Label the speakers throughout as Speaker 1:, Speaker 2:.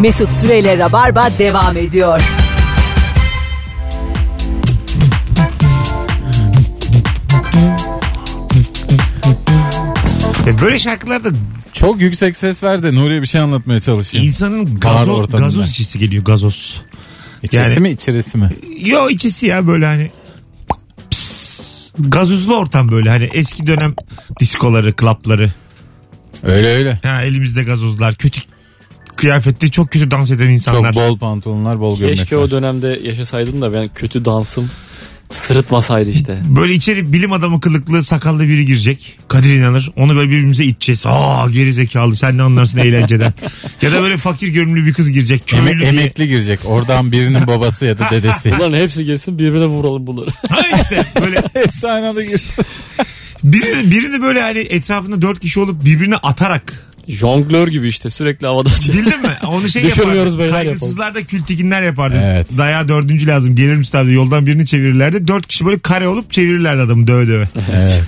Speaker 1: Mesut Süreyle Rabarba devam ediyor.
Speaker 2: Ya Böyle şarkılarda
Speaker 3: Çok yüksek ses ver de Nuri'ye bir şey anlatmaya çalışayım.
Speaker 2: insanın
Speaker 3: Bağır
Speaker 2: gazo,
Speaker 3: ortamında.
Speaker 2: gazoz içisi geliyor gazoz.
Speaker 3: İçerisi
Speaker 2: yani-
Speaker 3: mi içerisi mi?
Speaker 2: Yo içisi ya böyle hani Pss, gazozlu ortam böyle hani eski dönem diskoları, klapları.
Speaker 3: Öyle öyle.
Speaker 2: Ha, elimizde gazozlar, kötü kıyafetli çok kötü dans eden insanlar.
Speaker 3: Çok bol pantolonlar bol gömlekler.
Speaker 4: Keşke o dönemde yaşasaydım da ben kötü dansım sırıtmasaydı işte.
Speaker 2: Böyle içeri bilim adamı kılıklı sakallı biri girecek. Kadir inanır. Onu böyle birbirimize iteceğiz. Aa geri zekalı sen ne anlarsın eğlenceden. ya da böyle fakir görünümlü bir kız girecek.
Speaker 3: Eme-
Speaker 2: Köylü diye.
Speaker 3: emekli girecek. Oradan birinin babası ya da dedesi.
Speaker 4: Bunların hepsi girsin birbirine vuralım bunları.
Speaker 2: Ha işte böyle
Speaker 3: Hepsi aynı anda girsin.
Speaker 2: birini, birini böyle hani etrafında dört kişi olup birbirine atarak.
Speaker 4: Jonglör gibi işte sürekli havada açıyor.
Speaker 2: Bildin mi? Onu şey
Speaker 4: Düşürmüyoruz
Speaker 2: yapardı.
Speaker 4: beyler yapalım.
Speaker 2: Kaygısızlar da kültekinler yapardı.
Speaker 3: Evet.
Speaker 2: Daya dördüncü lazım. Gelir misin abi? Yoldan birini çevirirlerdi. Dört kişi böyle kare olup çevirirlerdi adamı döve döve.
Speaker 3: Evet.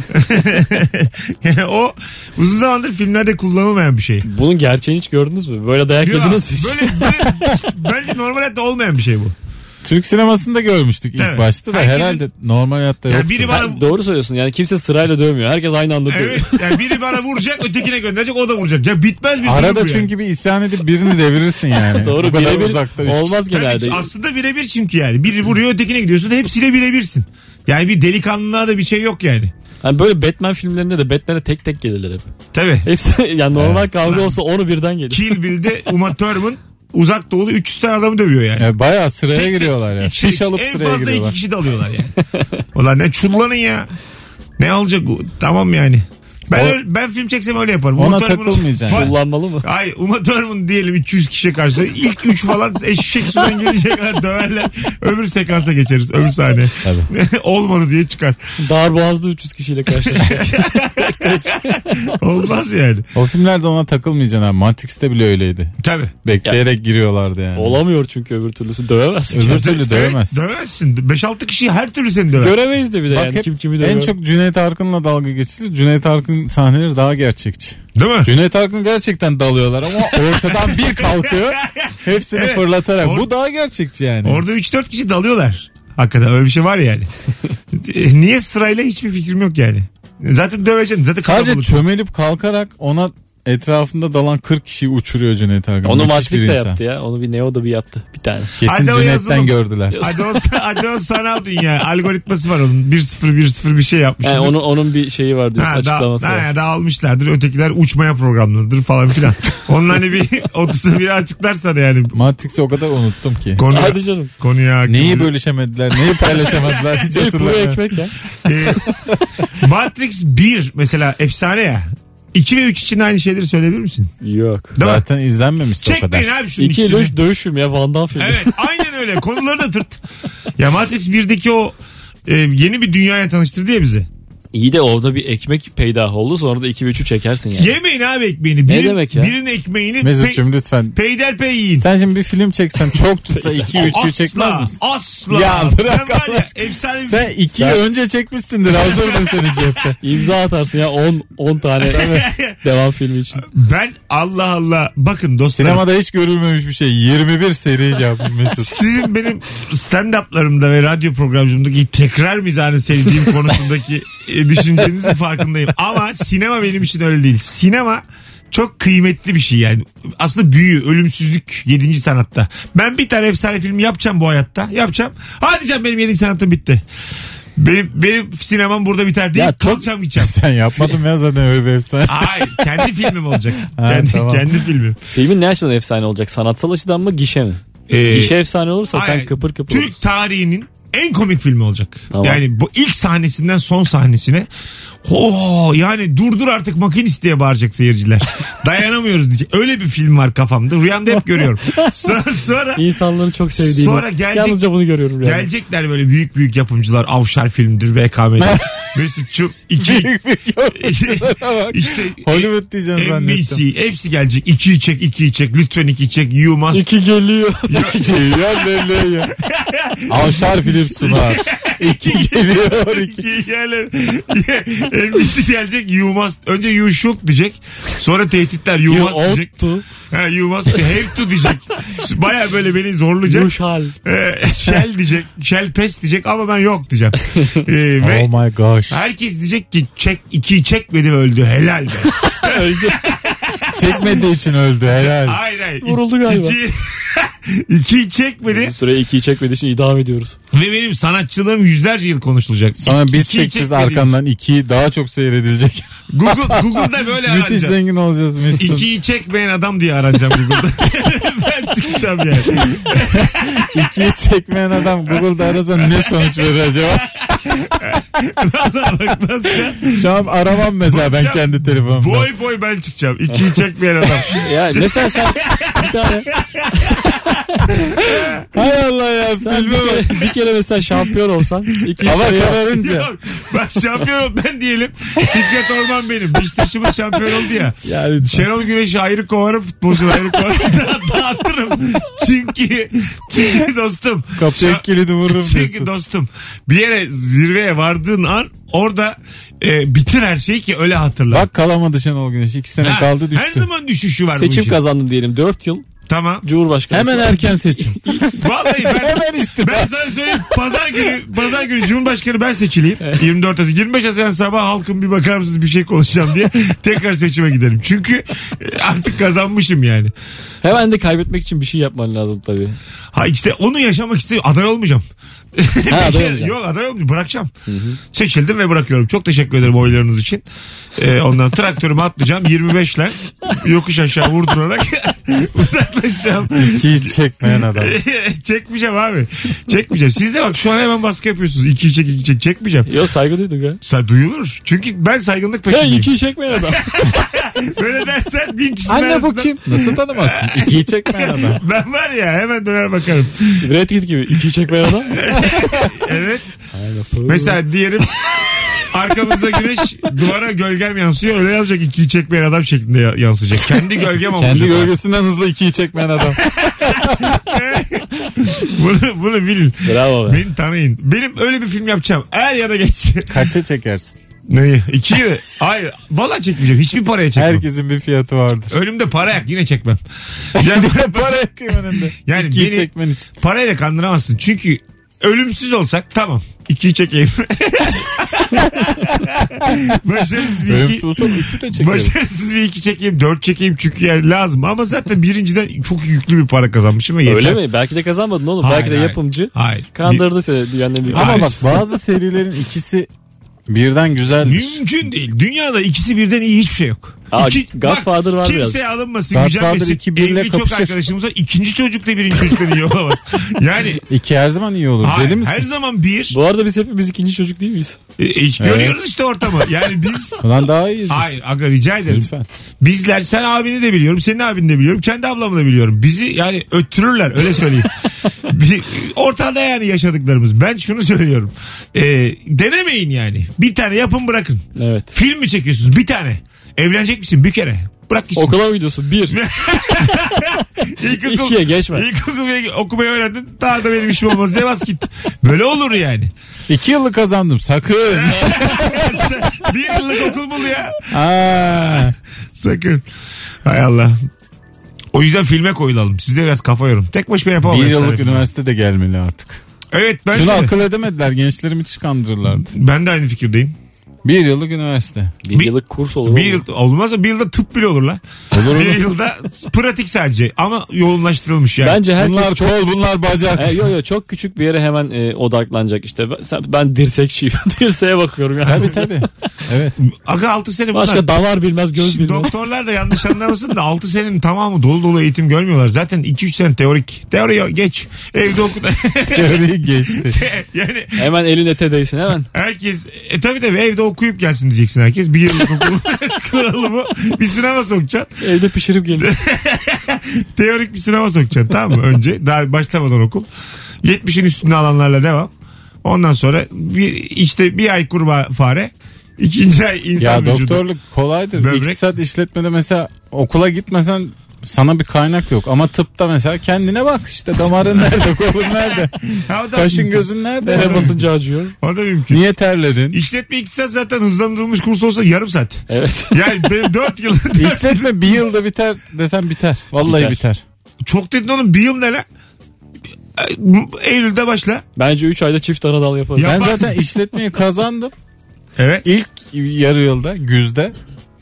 Speaker 2: Yani o uzun zamandır filmlerde kullanılmayan bir şey.
Speaker 4: Bunun gerçeğini hiç gördünüz mü? Böyle dayak
Speaker 2: Ya,
Speaker 4: yediniz mi? hiç?
Speaker 2: böyle, böyle işte bence normal hayatta olmayan bir şey bu.
Speaker 3: Türk sinemasında görmüştük ilk
Speaker 2: Evet.
Speaker 3: başta da
Speaker 2: Herkesin-
Speaker 3: herhalde normal hayatta
Speaker 2: Ya
Speaker 3: yoktu.
Speaker 2: biri bana
Speaker 4: Ha, doğru söylüyorsun yani kimse sırayla dövmüyor. Herkes aynı anda dövüyor.
Speaker 2: evet yani biri bana vuracak, ötekine gönderecek, o da vuracak. Ya bitmez bir film bu
Speaker 3: Arada
Speaker 2: yani.
Speaker 3: çünkü bir isyan edip birini devirirsin yani.
Speaker 4: Doğru
Speaker 3: Bu kadar
Speaker 4: birebir
Speaker 3: uzakta. üç-
Speaker 4: olmaz
Speaker 2: Yani
Speaker 4: genelde.
Speaker 2: aslında birebir çünkü yani. Biri vuruyor, ötekine gidiyorsun. Hepsiyle birebirsin. Yani bir delikanlılığa da bir şey yok yani.
Speaker 4: Hani böyle Batman filmlerinde de Batman'e tek tek gelirler hep.
Speaker 2: Tabii.
Speaker 4: Hepsi yani normal kavga olsa onu birden gelir.
Speaker 2: Kill Bill'de Uma Thurman uzak doğulu 300 tane adamı dövüyor yani.
Speaker 3: Ya bayağı sıraya giriyorlar ya.
Speaker 2: İki-
Speaker 3: Fiş alıp
Speaker 2: en
Speaker 3: sıraya
Speaker 2: fazla iki
Speaker 3: giriyorlar.
Speaker 2: kişi de alıyorlar yani. Ulan ne çullanın ya. Ne olacak? bu? Tamam yani. Ben,
Speaker 3: O-
Speaker 2: öyle- ben film çeksem öyle yaparım.
Speaker 3: Ona
Speaker 2: Uma Thurman'ın-
Speaker 3: takılmayacaksın.
Speaker 2: Fa-
Speaker 4: Kullanmalı mı?
Speaker 2: Ay Uma Thurman diyelim 200 kişiye karşı. ilk 3 falan eşek sudan gelecek kadar döverler. Öbür sekansa geçeriz. Öbür sahne. Olmadı diye çıkar.
Speaker 4: Darboğaz'da 300 kişiyle karşılaşıyor.
Speaker 2: Olmaz yani.
Speaker 3: O filmlerde ona takılmayacaksın abi. Matrix'te bile öyleydi.
Speaker 2: Tabii.
Speaker 3: Bekleyerek giriyorlardı yani.
Speaker 4: Olamıyor çünkü öbür türlüsü dövemez.
Speaker 3: Öbür türlü dövemez.
Speaker 2: Evet, dövemezsin. 5-6 kişi her türlü seni döver.
Speaker 4: Göremeyiz de bir de
Speaker 3: Bak
Speaker 4: yani
Speaker 3: hep
Speaker 4: kim kimi dövüyor.
Speaker 3: en çok Cüneyt Arkın'la dalga geçilir. Cüneyt Arkın sahneleri daha gerçekçi.
Speaker 2: Değil mi?
Speaker 3: Cüneyt Arkın gerçekten dalıyorlar ama ortadan bir kalkıyor. Hepsini
Speaker 2: Evet.
Speaker 3: fırlatarak.
Speaker 2: Or-
Speaker 3: Bu daha gerçekçi yani.
Speaker 2: Orada 3-4 kişi dalıyorlar. Hakikaten öyle bir şey var yani. E, Niye sırayla hiçbir fikrim yok yani. Zaten döveceğim. Zaten
Speaker 3: Sadece
Speaker 2: kalabalık.
Speaker 3: çömelip kalkarak ona etrafında dalan 40 kişiyi uçuruyor Cüneyt Arkın.
Speaker 4: Onu
Speaker 3: Müthiş bir
Speaker 4: Matrix de
Speaker 3: insan.
Speaker 4: yaptı ya. Onu bir Neo'da bir yaptı. Bir tane.
Speaker 3: Kesin
Speaker 2: Hadi o yazılım.
Speaker 3: Cüneyt'ten gördüler.
Speaker 2: Hadi o, hadi o sanal dünya. Algoritması var onun. 1-0-1-0 bir şey yapmış.
Speaker 4: Yani onun, onun bir şeyi var diyorsun
Speaker 2: Ha,
Speaker 4: açıklaması
Speaker 2: da,
Speaker 4: var.
Speaker 2: ha, da almışlardır. Ötekiler uçmaya programlıdır falan filan. Onun hani bir 30'u bir açıklarsan yani.
Speaker 3: Matrix'i o kadar unuttum ki.
Speaker 2: Konu,
Speaker 4: Hadi canım.
Speaker 2: konuya hakim
Speaker 3: Neyi
Speaker 2: oluyor.
Speaker 3: bölüşemediler, neyi paylaşamadılar hiç
Speaker 4: Bir kuru
Speaker 3: hatırlamıyorum.
Speaker 4: ekmek ya.
Speaker 2: Ee, Matrix 1 mesela efsane ya. 2 ve 3 için aynı şeyleri söyleyebilir misin?
Speaker 4: Yok.
Speaker 2: Değil mi?
Speaker 3: Zaten izlenmemişti o kadar.
Speaker 2: Çekmeyin abi şunun
Speaker 4: İki ile
Speaker 2: ikisini.
Speaker 4: üç dövüş filmi ya Van Damme filmi.
Speaker 2: Evet aynen öyle. Konuları da tırt. Ya Matrix 1'deki o e, yeni bir dünyaya tanıştırdı ya bizi.
Speaker 4: İyi de orada bir ekmek peydah oldu sonra da iki ve üçü çekersin yani.
Speaker 2: Yemeyin abi ekmeğini.
Speaker 4: Ne
Speaker 2: Birin,
Speaker 4: demek ya?
Speaker 2: Birinin ekmeğini pe-
Speaker 3: Mesut'cum lütfen.
Speaker 2: peyderpey yiyin.
Speaker 3: Sen şimdi bir film çeksen çok tutsa 2-3'ü çekmez misin?
Speaker 2: Asla.
Speaker 3: Ya bırak
Speaker 2: ben var
Speaker 3: Allah
Speaker 2: ya,
Speaker 3: aşkına.
Speaker 2: efsane bir
Speaker 3: Sen 2'yi
Speaker 4: Sen-
Speaker 3: önce çekmişsindir. Hazırdır senin cepte.
Speaker 4: İmza atarsın ya 10 10 tane devam filmi için.
Speaker 2: Ben Allah Allah bakın dostlarım.
Speaker 3: Sinemada hiç görülmemiş bir şey. 21 seri yapmış Mesut.
Speaker 2: Sizin benim stand-up'larımda ve radyo programcımdaki tekrar mizahını sevdiğim konusundaki e, düşüncenizin farkındayım. Ama sinema benim için öyle değil. Sinema çok kıymetli bir şey yani. Aslında büyü, ölümsüzlük 7. sanatta. Ben bir tane efsane filmi yapacağım bu hayatta. Yapacağım. Hadi canım benim 7. sanatım bitti. Benim, benim sinemam burada biter değil.
Speaker 3: Ya çok-
Speaker 2: Kalkacağım gideceğim.
Speaker 3: Sen yapmadın ya zaten öyle bir efsane.
Speaker 2: Hayır kendi filmim olacak.
Speaker 3: Ha,
Speaker 2: kendi,
Speaker 3: tamam.
Speaker 2: kendi filmim.
Speaker 4: Filmin ne açıdan efsane olacak? Sanatsal açıdan mı gişe mi?
Speaker 2: Ee,
Speaker 4: gişe efsane olursa
Speaker 2: Aynen.
Speaker 4: sen kıpır kıpır
Speaker 2: Türk
Speaker 4: olursun.
Speaker 2: tarihinin en komik filmi olacak.
Speaker 4: Tamam.
Speaker 2: Yani bu ilk sahnesinden son sahnesine ho yani durdur artık makinist diye bağıracak seyirciler. Dayanamıyoruz diyecek. Öyle bir film var kafamda. Rüyamda hep görüyorum. Sonra, sonra
Speaker 4: İnsanların çok sevdiğini.
Speaker 2: Sonra gelecek-
Speaker 4: Yalnızca bunu görüyorum yani.
Speaker 2: gelecekler böyle büyük büyük yapımcılar. Avşar filmdir BKM'de. Mesut'cum iki işte
Speaker 3: Hollywood diyeceğim zannettim.
Speaker 2: NBC hepsi gelecek. 2'yi çek, 2'yi çek. Lütfen 2'yi çek. You must
Speaker 4: İki geliyor.
Speaker 3: Ya, ya, ya, ya. Avşar film sunar. İki geliyor. iki.
Speaker 2: Yani MBC gelecek you must. Önce you should diyecek. Sonra tehditler you,
Speaker 4: You
Speaker 2: must diyecek.
Speaker 4: ought to.
Speaker 2: Ha, you must have to diyecek. Baya böyle beni zorlayacak.
Speaker 4: You shall.
Speaker 2: Ee, shell diyecek. Shell pes diyecek ama ben yok diyeceğim. Ee, ve
Speaker 3: Oh my gosh.
Speaker 2: herkes diyecek ki çek ikiyi çekmedi ve öldü. Helal be.
Speaker 4: Öldü.
Speaker 3: Çekmediği için öldü helal.
Speaker 2: Hayır hayır.
Speaker 4: Vuruldu galiba.
Speaker 2: İki, ikiyi çekmedi
Speaker 4: Bu süre 2'yi çekmediği için idam ediyoruz.
Speaker 2: ve benim sanatçılığım yüzlerce yıl konuşulacak.
Speaker 3: Sonra biz
Speaker 2: İkiyi
Speaker 3: çekeceğiz
Speaker 2: çekmediğimiz.
Speaker 3: arkandan ikiyi daha çok seyredilecek.
Speaker 2: Google, Google'da böyle
Speaker 3: Müthiş
Speaker 2: aranacak.
Speaker 3: zengin olacağız Mesut.
Speaker 2: İkiyi çekmeyen adam diye aranacağım Google'da. ben çıkacağım yani.
Speaker 3: İkiyi çekmeyen adam Google'da arasa ne sonuç verir acaba?
Speaker 2: Vallahi bak nasıl ya?
Speaker 3: Şu an aramam mesela ben
Speaker 2: Bakacağım.
Speaker 3: kendi telefonumda.
Speaker 2: Boy boy ben çıkacağım. İkiyi çekmeyen adam.
Speaker 4: Ya mesela sen bir tane
Speaker 3: Hay Allah ya
Speaker 4: sen bir şey-
Speaker 3: filme bak.
Speaker 4: kere, bir kere mesela şampiyon olsan iki
Speaker 3: Hava
Speaker 4: sıraya-
Speaker 3: kararınca.
Speaker 2: Yok bak şampiyon ol- ben diyelim. Fikret Orman benim. Beşiktaş'ımız şampiyon oldu ya.
Speaker 3: Yani
Speaker 2: Şenol Güneş'i ayrı kovarım futbolcuları ayrı kovarım da- dağıtırım. Çünkü, çünkü dostum.
Speaker 3: kapıya
Speaker 2: Şa-
Speaker 3: kilidi vururum
Speaker 2: çünkü
Speaker 3: diyorsun.
Speaker 2: dostum bir yere zirveye vardığın an orada e, bitir her şeyi ki öyle hatırla.
Speaker 3: Bak kalamadı Şenol Güneş. İki sene
Speaker 2: Ha,
Speaker 3: kaldı
Speaker 2: Her
Speaker 3: düştü.
Speaker 2: zaman düşüşü var bu
Speaker 4: Seçim
Speaker 2: işin.
Speaker 4: kazandın diyelim 4 yıl
Speaker 2: Tamam.
Speaker 4: Cumhurbaşkanı.
Speaker 3: Hemen erken seçim.
Speaker 2: Vallahi ben,
Speaker 3: Hemen istifa.
Speaker 2: ben sana söyleyeyim pazar günü pazar günü Cumhurbaşkanı ben seçileyim. 24 Haziran 25 Haziran sabah halkın bir bakar mısınız bir şey konuşacağım diye tekrar seçime giderim. Çünkü e, artık kazanmışım yani.
Speaker 4: Hemen de kaybetmek için bir şey yapman lazım tabii.
Speaker 2: Ha işte onu yaşamak istiyorum. Aday olmayacağım.
Speaker 4: Ha,
Speaker 2: Bir
Speaker 4: aday
Speaker 2: kere-
Speaker 4: olacaksın.
Speaker 2: Yok aday olmayacağım. Bırakacağım. Seçildim ve bırakıyorum. Çok teşekkür ederim oylarınız için. Ee, ondan traktörümü atlayacağım. 25'ler yokuş aşağı vurdurarak uzaklaşacağım.
Speaker 3: İkiyi çekmeyen adam.
Speaker 2: Çekmeyeceğim abi. Çekmeyeceğim. Siz de bak şu an hemen baskı yapıyorsunuz. İki çek iki çek. Çekmeyeceğim.
Speaker 4: Yo saygı duyduk ya.
Speaker 2: Sen duyulur. Çünkü ben saygınlık
Speaker 4: Hey
Speaker 2: peşindeyim.
Speaker 4: ikiyi çekmeyin adam.
Speaker 2: Böyle dersen bin kişinin
Speaker 3: Anne bu
Speaker 2: arasında-
Speaker 3: kim? Nasıl tanımazsın? İkiyi çekmeyen adam.
Speaker 2: Ben var ya hemen döner bakarım.
Speaker 4: Brad Pitt gibi ikiyi çekmeyin adam.
Speaker 2: Evet. Mesela diyelim arkamızda güneş duvara gölgem yansıyor. Öyle yazacak ikiyi çekmeyen adam şeklinde ya- yansıyacak. Kendi gölgem olacak.
Speaker 3: Kendi gölgesinden hızlı ikiyi çekmeyen adam.
Speaker 2: Bunu, bunu bilin.
Speaker 4: Bravo be.
Speaker 2: Beni tanıyın. Benim öyle bir film yapacağım. Er ya da geç.
Speaker 3: Kaça çekersin?
Speaker 2: Neyi? İkiyi mi? Hayır. Valla çekmeyeceğim. Hiçbir paraya çekmem.
Speaker 3: Herkesin bir fiyatı vardır.
Speaker 2: Önümde para yak yine çekmem. Yani,
Speaker 3: Para yakıyor önünde.
Speaker 2: Yani
Speaker 3: ikiyi
Speaker 2: beni-
Speaker 3: çekmen için.
Speaker 2: parayla kandıramazsın. Çünkü ölümsüz olsak tamam. İkiyi çekeyim. Başarısız bir iki.
Speaker 3: Ölümsüz olsa üçü de çekerim.
Speaker 2: Başarısız bir iki çekeyim, dört çekeyim çünkü yani lazım. Ama zaten birinciden çok yüklü bir para kazanmışım ve yeter.
Speaker 4: Öyle mi? Belki de kazanmadın oğlum.
Speaker 2: Hayır,
Speaker 4: Belki de
Speaker 2: hayır.
Speaker 4: yapımcı
Speaker 2: Hayır.
Speaker 4: kandırdı seni dünyanın en büyük.
Speaker 2: Hayır.
Speaker 3: Ama bak bazı serilerin ikisi birden güzeldir.
Speaker 2: Mümkün değil. Dünyada ikisi birden iyi hiçbir şey yok.
Speaker 4: Aa, Godfather var
Speaker 2: kimseye
Speaker 4: biraz.
Speaker 2: alınmasın.
Speaker 3: Godfather
Speaker 2: Gücenmesin.
Speaker 3: iki birle
Speaker 2: Evli çok
Speaker 3: kapışır.
Speaker 2: arkadaşımız var. İkinci çocuk da birinci çocuktan iyi olamaz. Yani
Speaker 3: İki her zaman iyi olur.
Speaker 2: hayır,
Speaker 3: Deli misin?
Speaker 2: her zaman bir.
Speaker 4: Bu arada biz hepimiz ikinci çocuk değil miyiz?
Speaker 2: E, e, işte
Speaker 3: Evet.
Speaker 2: Görüyoruz işte ortamı. Yani biz
Speaker 3: Ulan daha iyiyiz. biz.
Speaker 2: Hayır aga rica ederim.
Speaker 3: Lütfen.
Speaker 2: Bizler sen abini de biliyorum, senin abini de biliyorum, kendi ablamı da biliyorum. Bizi yani öttürürler öyle söyleyeyim. Bir, ortada yani yaşadıklarımız. Ben şunu söylüyorum. Ee, denemeyin yani. Bir tane yapın bırakın.
Speaker 4: Evet.
Speaker 2: Film mi çekiyorsunuz? Bir tane. Evlenecek misin? Bir kere. Bırak gitsin.
Speaker 4: Okula mı gidiyorsun? Bir.
Speaker 2: İlkokul-
Speaker 4: ikiye geçme.
Speaker 2: İlkokul okumayı öğrendin. Daha da benim işim olmaz diye bas git. Böyle olur yani.
Speaker 3: İki yıllık kazandım sakın.
Speaker 2: bir yıllık okul bul ya.
Speaker 3: Aa,
Speaker 2: Sakın. Hay Allah. O yüzden filme koyulalım. Siz de biraz kafa yorun. Tek başıma yapamam.
Speaker 3: bir
Speaker 2: efsane
Speaker 3: yıllık
Speaker 2: filmi.
Speaker 3: üniversite de gelmeli artık.
Speaker 2: Evet ben
Speaker 3: Şunu
Speaker 2: de,
Speaker 3: akıl edemediler. Gençleri müthiş kandırırlardı.
Speaker 2: ben de aynı fikirdeyim.
Speaker 3: Bir yıllık üniversite.
Speaker 4: Bir,
Speaker 2: Bir-
Speaker 4: yıllık kurs olur.
Speaker 2: Bir
Speaker 4: oğlum.
Speaker 2: yıl olmaz da bir yılda tıp bile olur lan.
Speaker 3: Olur
Speaker 2: Bir
Speaker 3: olur.
Speaker 2: yılda pratik sadece ama yoğunlaştırılmış yani.
Speaker 4: Bence herkes
Speaker 3: Bunlar
Speaker 4: çok...
Speaker 3: kol bunlar bacak.
Speaker 4: E, yo yo çok küçük bir yere hemen e, odaklanacak işte. Ben, sen- ben dirsekçiyim. Dirseğe bakıyorum yani.
Speaker 3: tabii tabii. Evet.
Speaker 2: Aga 6 sene bunlar.
Speaker 4: Başka davar bilmez göz
Speaker 2: Şimdi
Speaker 4: bilmez.
Speaker 2: doktorlar da yanlış anlamasın da 6 senenin tamamı dolu dolu eğitim görmüyorlar. Zaten 2-3 sene teorik. Teoriyi geç. Evde oku.
Speaker 3: Teoriyi geçti.
Speaker 2: yani
Speaker 4: Hemen elin ete değsin hemen.
Speaker 2: Herkes e tabi tabi evde okuyup gelsin diyeceksin herkes. Bir yıllık okul kuralı bu. Bir sınava sokacaksın.
Speaker 4: Evde pişirip gelin.
Speaker 2: Teorik bir sınava sokacaksın tamam mı? Önce daha başlamadan okul. 70'in üstünde alanlarla devam. Ondan sonra bir, işte bir ay kurbağa fare. ikinci ay insan
Speaker 3: Ya
Speaker 2: vücudu.
Speaker 3: doktorluk kolaydır.
Speaker 2: Böbrek-
Speaker 3: İktisat işletmede mesela okula gitmesen sana bir kaynak yok ama tıpta mesela kendine bak işte damarın nerede kolun nerede
Speaker 2: Ha, o da
Speaker 3: kaşın
Speaker 2: mümkün.
Speaker 3: gözün nerede
Speaker 4: Nereye basınca acıyor?
Speaker 2: O da mümkün.
Speaker 3: niye terledin
Speaker 2: İşletme iktisat zaten hızlandırılmış kurs olsa yarım saat.
Speaker 4: Evet.
Speaker 2: Yani benim 4 yıl
Speaker 3: İşletme bir yılda biter desen biter vallahi
Speaker 4: Biter.
Speaker 3: biter,
Speaker 2: çok dedin oğlum bir yıl ne lan? Eylül'de başla.
Speaker 4: Bence 3 ayda çift ana dal yaparız.
Speaker 2: Ya-
Speaker 3: ben
Speaker 2: Yaparsın.
Speaker 3: zaten işletmeyi kazandım
Speaker 2: Evet.
Speaker 3: ilk yarı yılda güzde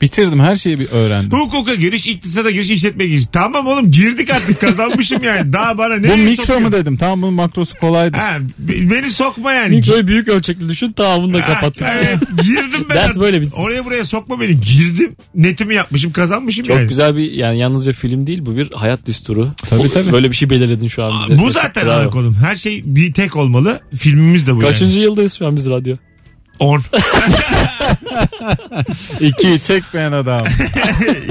Speaker 3: bitirdim her şeyi bir öğrendim
Speaker 2: Hukuka giriş, iktisada giriş, işletmeye giriş. Tamam oğlum girdik artık kazanmışım yani. Daha bana ne
Speaker 3: bu mikro mu dedim tamam bunun makrosu kolaydı
Speaker 2: Ha, be- beni sokma yani.
Speaker 4: Mikroyu büyük ölçekli düşün tamam bunu da
Speaker 2: Ha,
Speaker 4: kapattık.
Speaker 2: evet, girdim ben.
Speaker 4: Ders
Speaker 2: artık.
Speaker 4: böyle bitsin.
Speaker 2: Oraya buraya sokma beni. Girdim. Netimi yapmışım kazanmışım
Speaker 4: Çok
Speaker 2: yani.
Speaker 4: güzel bir yani yalnızca film değil bu bir hayat düsturu.
Speaker 3: Tabii, tabii.
Speaker 4: Böyle bir şey belirledin şu an bize.
Speaker 2: Bu zaten
Speaker 4: Bravo.
Speaker 2: ana konum. Her şey bir tek olmalı. Filmimiz de bu yani.
Speaker 4: Kaçıncı yıldayız şu an biz radyo?
Speaker 2: 10.
Speaker 3: İkiyi çekmeyen adam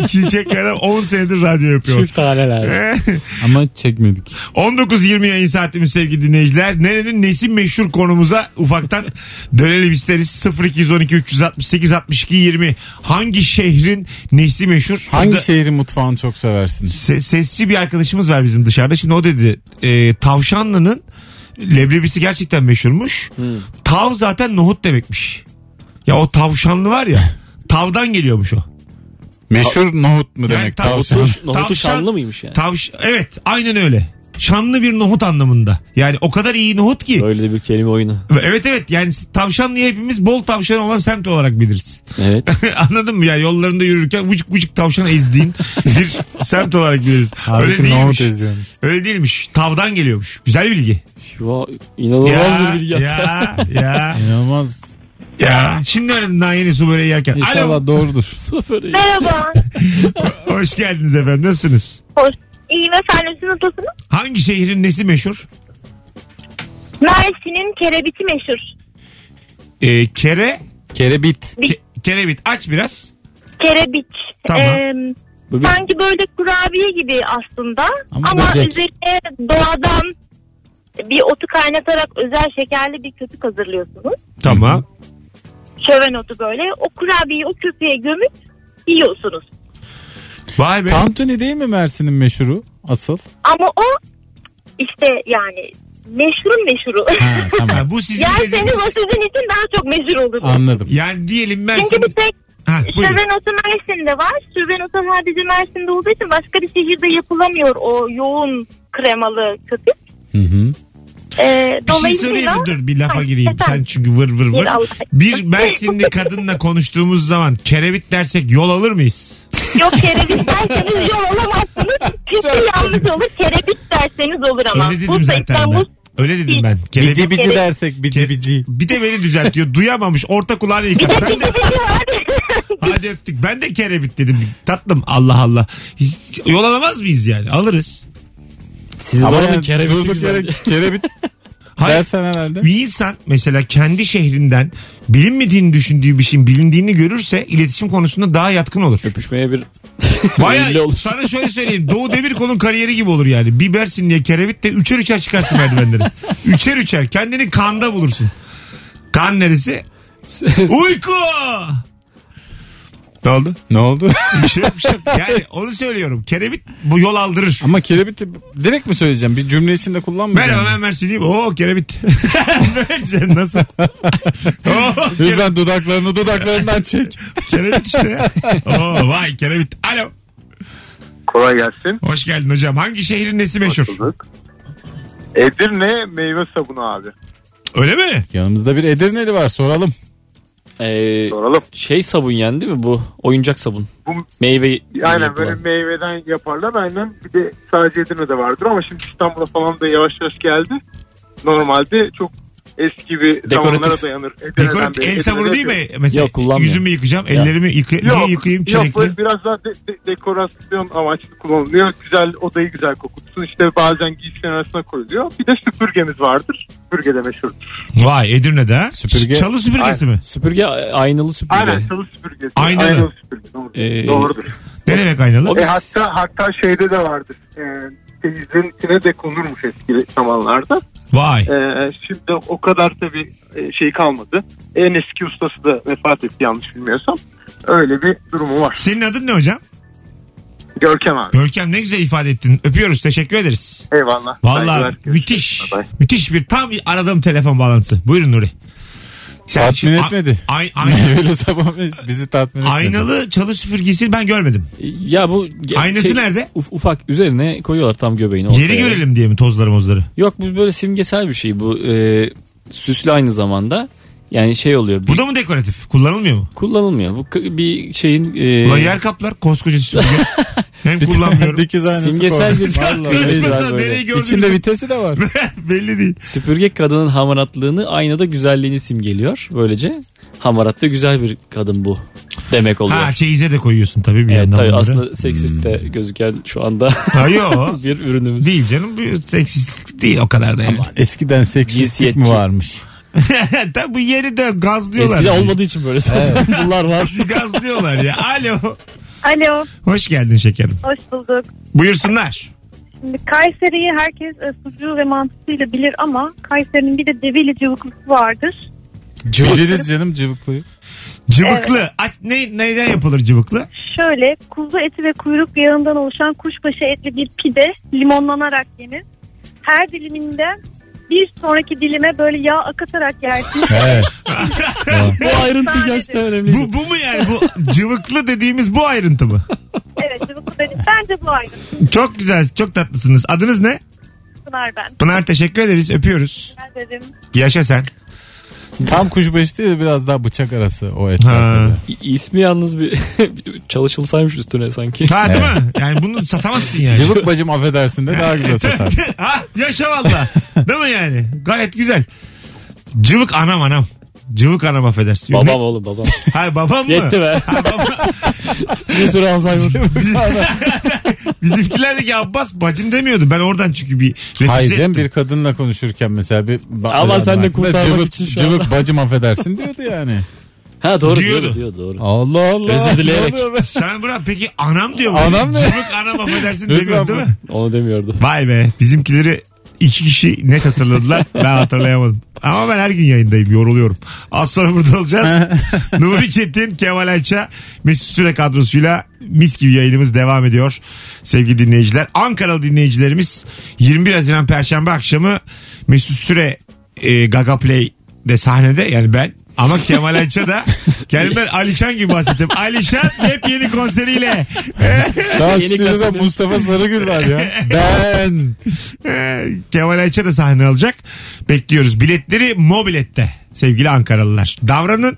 Speaker 2: İki çekmeden 10 senedir radyo yapıyor.
Speaker 4: Çift haneler.
Speaker 2: Ee,
Speaker 3: ama çekmedik
Speaker 2: 19.20 yayın saatimiz sevgili dinleyiciler. Nerenin nesi meşhur konumuza ufaktan dönelim isteriz. 0212 368 62 20. Hangi şehrin nesi meşhur?
Speaker 3: hangi
Speaker 2: Burada
Speaker 3: şehrin mutfağını çok seversin
Speaker 2: se- sesçi bir arkadaşımız var bizim dışarıda. Şimdi o dedi e, tavşanlının leblebisi gerçekten meşhurmuş.
Speaker 3: Hmm.
Speaker 2: Tav zaten nohut demekmiş. Ya o tavşanlı var ya. Tavdan geliyormuş o.
Speaker 3: meşhur nohut mu
Speaker 2: Yani
Speaker 3: demek
Speaker 2: tav-
Speaker 3: tavşan
Speaker 4: Nohutu- Nohutu
Speaker 2: Tavşan-
Speaker 4: şanlı mıymış yani?
Speaker 2: Tavş evet aynen öyle. Şanlı bir nohut anlamında. Yani o kadar iyi nohut ki.
Speaker 4: Böyle de bir kelime oyunu.
Speaker 2: Evet evet yani tavşanlıyı hepimiz bol tavşan olan semt olarak biliriz.
Speaker 4: Evet.
Speaker 2: Anladın mı ya yollarında yürürken vıcık vıcık tavşan ezdiğin bir semt olarak biliriz. Öyle
Speaker 3: Halbuki nohut
Speaker 2: değilmiş.
Speaker 3: eziyormuş.
Speaker 2: Öyle değilmiş. Tavdan geliyormuş. Güzel bilgi.
Speaker 4: Şu inanılmaz bir bilgi. hatta.
Speaker 2: ya, ya,
Speaker 3: İnanılmaz.
Speaker 2: ya. Şimdi öğrendim daha yeni su böreği yerken. Alo.
Speaker 3: İnşallah doğrudur.
Speaker 4: Sıfır.
Speaker 5: Merhaba.
Speaker 2: Hoş geldiniz efendim. Nasılsınız?
Speaker 5: Hoş. İyi ve sen nasılsın, nasılsınız?
Speaker 2: Hangi şehrin nesi meşhur?
Speaker 5: Mersin'in kerebiti meşhur.
Speaker 2: Ee, kere,
Speaker 3: Kerebit.
Speaker 2: ke, kerebit. Aç biraz.
Speaker 5: Kerebit.
Speaker 2: Tamam.
Speaker 5: Ee,
Speaker 4: Bu bir-
Speaker 5: sanki böyle kurabiye gibi aslında.
Speaker 3: Ama
Speaker 5: Ama,
Speaker 3: böcek.
Speaker 5: üzerine doğadan bir otu kaynatarak özel şekerli bir köpük hazırlıyorsunuz.
Speaker 2: Tamam.
Speaker 5: Şöven otu böyle. O kurabiyeyi o köpüğe gömüp yiyorsunuz.
Speaker 2: Vay be.
Speaker 3: Tantuni değil mi Mersin'in meşhuru? Asıl.
Speaker 5: Ama o işte yani meşhurun meşhuru.
Speaker 3: Ha tamam.
Speaker 2: Ha, bu sizin
Speaker 5: Yerseniz
Speaker 2: dediğiniz.
Speaker 5: o sizin için daha çok meşhur olur.
Speaker 3: Anladım.
Speaker 2: Yani diyelim ben...
Speaker 5: Çünkü bir şey tek
Speaker 2: Ha, buyurun. şey
Speaker 5: Süvenotu Mersin'de var. Süvenotu sadece Mersin'de olduğu için başka bir şehirde yapılamıyor o yoğun kremalı köpük.
Speaker 3: Hı hı.
Speaker 5: Ee,
Speaker 2: Bir şey söyleyeyim mi? Dur bir lafa
Speaker 5: Ay,
Speaker 2: gireyim.
Speaker 5: efendim.
Speaker 2: Sen çünkü vır vır vır.
Speaker 5: Gir Allah.
Speaker 2: Bir Mersinli kadınla konuştuğumuz zaman kerevit dersek yol alır mıyız?
Speaker 5: Yok kerebit derseniz yol olamazsınız. Kesin yanlış olur. Kerebit derseniz olur ama.
Speaker 2: Öyle dedim
Speaker 5: Bursa
Speaker 2: zaten
Speaker 5: İstanbul
Speaker 2: ben. Öyle dedim ben. Kerevit.
Speaker 3: Bici bici
Speaker 5: Kere-
Speaker 3: dersek bici bici.
Speaker 2: Bir de beni düzeltiyor. Duyamamış. Orta kulağını yıkar. Ben de, hadi öptük. Ben de kerevit dedim. Tatlım Allah Allah. Hiç- Yol alamaz mıyız yani? Alırız.
Speaker 4: Siz
Speaker 3: Ama
Speaker 4: oranın
Speaker 3: yani
Speaker 4: kerebiti
Speaker 3: durduk
Speaker 4: güzel.
Speaker 3: yere kerebit
Speaker 2: Hayır.
Speaker 3: dersen herhalde.
Speaker 2: Bir insan mesela kendi şehrinden bilinmediğini düşündüğü bir şeyin bilindiğini görürse iletişim konusunda daha yatkın olur.
Speaker 4: Öpüşmeye bir belli
Speaker 2: Baya
Speaker 4: olur.
Speaker 2: sana şöyle söyleyeyim. Doğu Demirkol'un kariyeri gibi olur yani. Bir Bersin diye kerevit de üçer üçer çıkarsın merdivenleri. Üçer üçer. Kendini kanda bulursun. Kan neresi? Uyku! Ne oldu?
Speaker 3: Ne oldu?
Speaker 2: Bir şey yok, bir şey yok. Yani onu söylüyorum. Kerevit bu yol aldırır.
Speaker 3: Ama kerebiti direkt mi söyleyeceğim? Bir cümle içinde kullanmayacağım.
Speaker 2: Merhaba ben Mersinliyim. Oo kerevit. Bence nasıl? Oo, kerevit.
Speaker 3: Lütfen dudaklarını dudaklarından çek.
Speaker 2: kerevit işte ya. Oo, vay kerevit. Alo.
Speaker 6: Kolay gelsin.
Speaker 2: Hoş geldin hocam. Hangi şehrin nesi meşhur?
Speaker 6: Hoş bulduk. Edirne meyve sabunu abi.
Speaker 2: Öyle mi?
Speaker 3: Yanımızda bir Edirneli var soralım.
Speaker 4: Ee,
Speaker 6: Soralım.
Speaker 4: şey sabun yani değil mi bu? Oyuncak sabun.
Speaker 6: Bu-
Speaker 4: Meyve.
Speaker 6: Aynen böyle meyveden yaparlar. Aynen bir de sadece Edirne'de vardır ama şimdi İstanbul'a falan da yavaş yavaş geldi. Normalde çok eski bir
Speaker 4: Dekoratif.
Speaker 6: zamanlara dayanır. Edirne'den
Speaker 2: Dekorat
Speaker 6: beri
Speaker 2: el
Speaker 6: Edirne'de
Speaker 2: sabunu değil mi?
Speaker 6: yapıyor.
Speaker 2: Mesela
Speaker 4: Yok, kullanmıyorum.
Speaker 2: yüzümü yıkayacağım. Ellerimi yıka niye
Speaker 6: Yok,
Speaker 2: yıkayayım
Speaker 6: yok
Speaker 2: çilekli?
Speaker 6: böyle biraz daha de- de- dekorasyon amaçlı kullanılıyor. Güzel odayı güzel kokutsun. İşte bazen giysilerin arasına koyuluyor. Bir de süpürgemiz vardır. Süpürge de meşhurdur.
Speaker 2: Vay Edirne'de ha.
Speaker 3: Süpürge-
Speaker 2: Çalı süpürgesi mi?
Speaker 4: Süpürge e, aynalı süpürge.
Speaker 6: Aynen çalı süpürgesi.
Speaker 2: Aynalı.
Speaker 6: süpürge. Doğru.
Speaker 4: Ee,
Speaker 6: Doğrudur.
Speaker 2: Ne demek aynalı?
Speaker 4: O-
Speaker 6: E hatta hatta şeyde de vardır. E, denizin içine de konurmuş eski zamanlarda.
Speaker 2: Vay.
Speaker 6: E, şimdi o kadar tabii e, şey kalmadı. En eski ustası da vefat etti yanlış bilmiyorsam. Öyle bir durumu var.
Speaker 2: Senin adın ne hocam?
Speaker 6: Görkem abi.
Speaker 2: Görkem ne güzel ifade ettin. Öpüyoruz. Teşekkür ederiz.
Speaker 6: Eyvallah.
Speaker 2: Valla
Speaker 6: Saygılar, görüşürüz.
Speaker 2: müthiş.
Speaker 6: Bye bye.
Speaker 2: Müthiş bir tam aradığım telefon bağlantısı. Buyurun Nuri.
Speaker 3: Tatmin
Speaker 2: şimdi-
Speaker 3: etmedi.
Speaker 2: Ay, ay-
Speaker 3: Meyveli sabah meyvesi bizi tatmin etmedi.
Speaker 2: aynalı çalı süpürgesi ben görmedim.
Speaker 4: Ya bu ge-
Speaker 2: Aynası
Speaker 4: şey-
Speaker 2: nerede?
Speaker 4: Uf- ufak üzerine koyuyorlar tam göbeğini.
Speaker 2: Yeri
Speaker 4: ortaya.
Speaker 2: görelim diye mi tozları mozları?
Speaker 4: Yok bu böyle simgesel bir şey bu. E, süslü aynı zamanda. Yani şey oluyor. Bir,
Speaker 2: Bu da mı dekoratif? Kullanılmıyor mu?
Speaker 4: kullanılmıyor. Bu k- bir şeyin e,
Speaker 2: Ulan yer kaplar koskoca süpürge. Hem kullanmıyorum.
Speaker 3: Dikiz aynası
Speaker 4: Simgesel
Speaker 3: koymuş.
Speaker 4: bir-
Speaker 3: Vallahi
Speaker 4: Saçma
Speaker 3: neydi?
Speaker 2: Saçmasına
Speaker 4: böyle.
Speaker 2: deneyi gördünüz.
Speaker 3: İçinde vitesi de var.
Speaker 2: Belli değil.
Speaker 4: süpürge kadının hamaratlığını aynada güzelliğini simgeliyor. Böylece hamaratlı güzel bir kadın bu demek oluyor.
Speaker 2: Ha şey çeyize de koyuyorsun tabii bir
Speaker 4: Evet,
Speaker 2: yandan
Speaker 4: tabii
Speaker 2: bunları.
Speaker 4: aslında seksist de gözüken şu anda
Speaker 2: Ha, yo.
Speaker 4: bir ürünümüz.
Speaker 2: değil canım. Bu seksistlik değil o kadar da yani.
Speaker 3: Eskiden seksistlik
Speaker 4: Cinsiyetçi.
Speaker 3: mi varmış?
Speaker 2: Tabii bu yeri de gazlıyorlar.
Speaker 4: Eskiden olmadığı için böyle zaten bunlar var.
Speaker 2: Gazlıyorlar ya. Alo.
Speaker 5: Alo,
Speaker 2: Hoş geldin şekerim.
Speaker 5: hoş bulduk.
Speaker 2: Buyursunlar.
Speaker 5: Şimdi Kayseri'yi herkes e, sucuğu ve mantısıyla bilir ama Kayseri'nin bir de develi cıvıklısı vardır.
Speaker 3: Biliriz canım cıvıklıyı.
Speaker 2: Cıvıklı. At, ne, neyden yapılır cıvıklı?
Speaker 5: Şöyle kuzu eti ve kuyruk yağından oluşan kuşbaşı etli bir pide limonlanarak yenir. Her diliminden bir sonraki dilime böyle yağ akatarak yersiniz.
Speaker 3: Evet.
Speaker 4: Bu ayrıntı gerçekten önemli.
Speaker 2: Bu, bu mu yani? Bu cıvıklı dediğimiz bu ayrıntı mı?
Speaker 5: evet cıvıklı dedim. Bence bu aynı.
Speaker 2: Çok güzel. Çok tatlısınız. Adınız ne?
Speaker 5: Pınar ben.
Speaker 2: Pınar teşekkür ederiz. Öpüyoruz.
Speaker 5: Ben dedim.
Speaker 2: Yaşa sen.
Speaker 3: Tam kuşbaşı değil de biraz daha bıçak arası o
Speaker 2: Ha.
Speaker 3: etrafta. da.
Speaker 4: İ- İsmi yalnız bir çalışılsaymış üstüne sanki.
Speaker 2: Ha değil
Speaker 3: Evet.
Speaker 2: mi? Yani bunu satamazsın yani.
Speaker 3: Cıvık bacım affedersin de daha güzel satarsın.
Speaker 2: ha, yaşa valla. Değil mi yani? Gayet güzel. Cıvık anam anam. Cıvık anam affedersin. Yok,
Speaker 4: babam oğlum babam.
Speaker 2: ne- Ha babam mı?
Speaker 4: Yetti be. bir sürü Alzheimer.
Speaker 2: Bizimkilerdeki Abbas bacım demiyordu. Ben oradan çünkü bir refüze
Speaker 3: Hayır canım,
Speaker 2: ettim.
Speaker 3: bir kadınla konuşurken mesela bir ba-
Speaker 4: Ama sen de
Speaker 3: hakkında
Speaker 4: kurtarmak
Speaker 3: cıvık,
Speaker 4: için şu
Speaker 3: cıvık bacım affedersin diyordu yani.
Speaker 4: Ha doğru
Speaker 2: Diyordu.
Speaker 4: diyor, diyor doğru.
Speaker 3: Allah Allah.
Speaker 4: Özür dileyerek.
Speaker 3: Ne oluyor be?
Speaker 2: Sen bırak peki anam diyor mu?
Speaker 3: Anam ne?
Speaker 2: Cıvık anam affedersin
Speaker 3: Lütfen
Speaker 2: demiyor değil
Speaker 3: bu.
Speaker 2: mi?
Speaker 4: Onu demiyordu.
Speaker 2: Vay be bizimkileri iki kişi net hatırladılar. ben hatırlayamadım. Ama ben her gün yayındayım yoruluyorum. Az sonra burada olacağız. Nuri Çetin, Kemal Ayça, Mesut Süre kadrosuyla mis gibi yayınımız devam ediyor. Sevgili dinleyiciler. Ankaralı dinleyicilerimiz 21 Haziran Perşembe akşamı Mesut Süre e, Gaga Play'de sahnede yani ben ama Kemal Ayça da kendimden Alişan gibi bahsettim. Alişan hep yeni konseriyle.
Speaker 3: Daha
Speaker 4: Yeni
Speaker 3: stüdyoda
Speaker 4: gazetemiz.
Speaker 3: Mustafa Sarıgül var ya. Ben.
Speaker 2: Ee, Kemal Ayça da sahne alacak. Bekliyoruz. Biletleri Mobilet'te sevgili Ankaralılar. Davranın.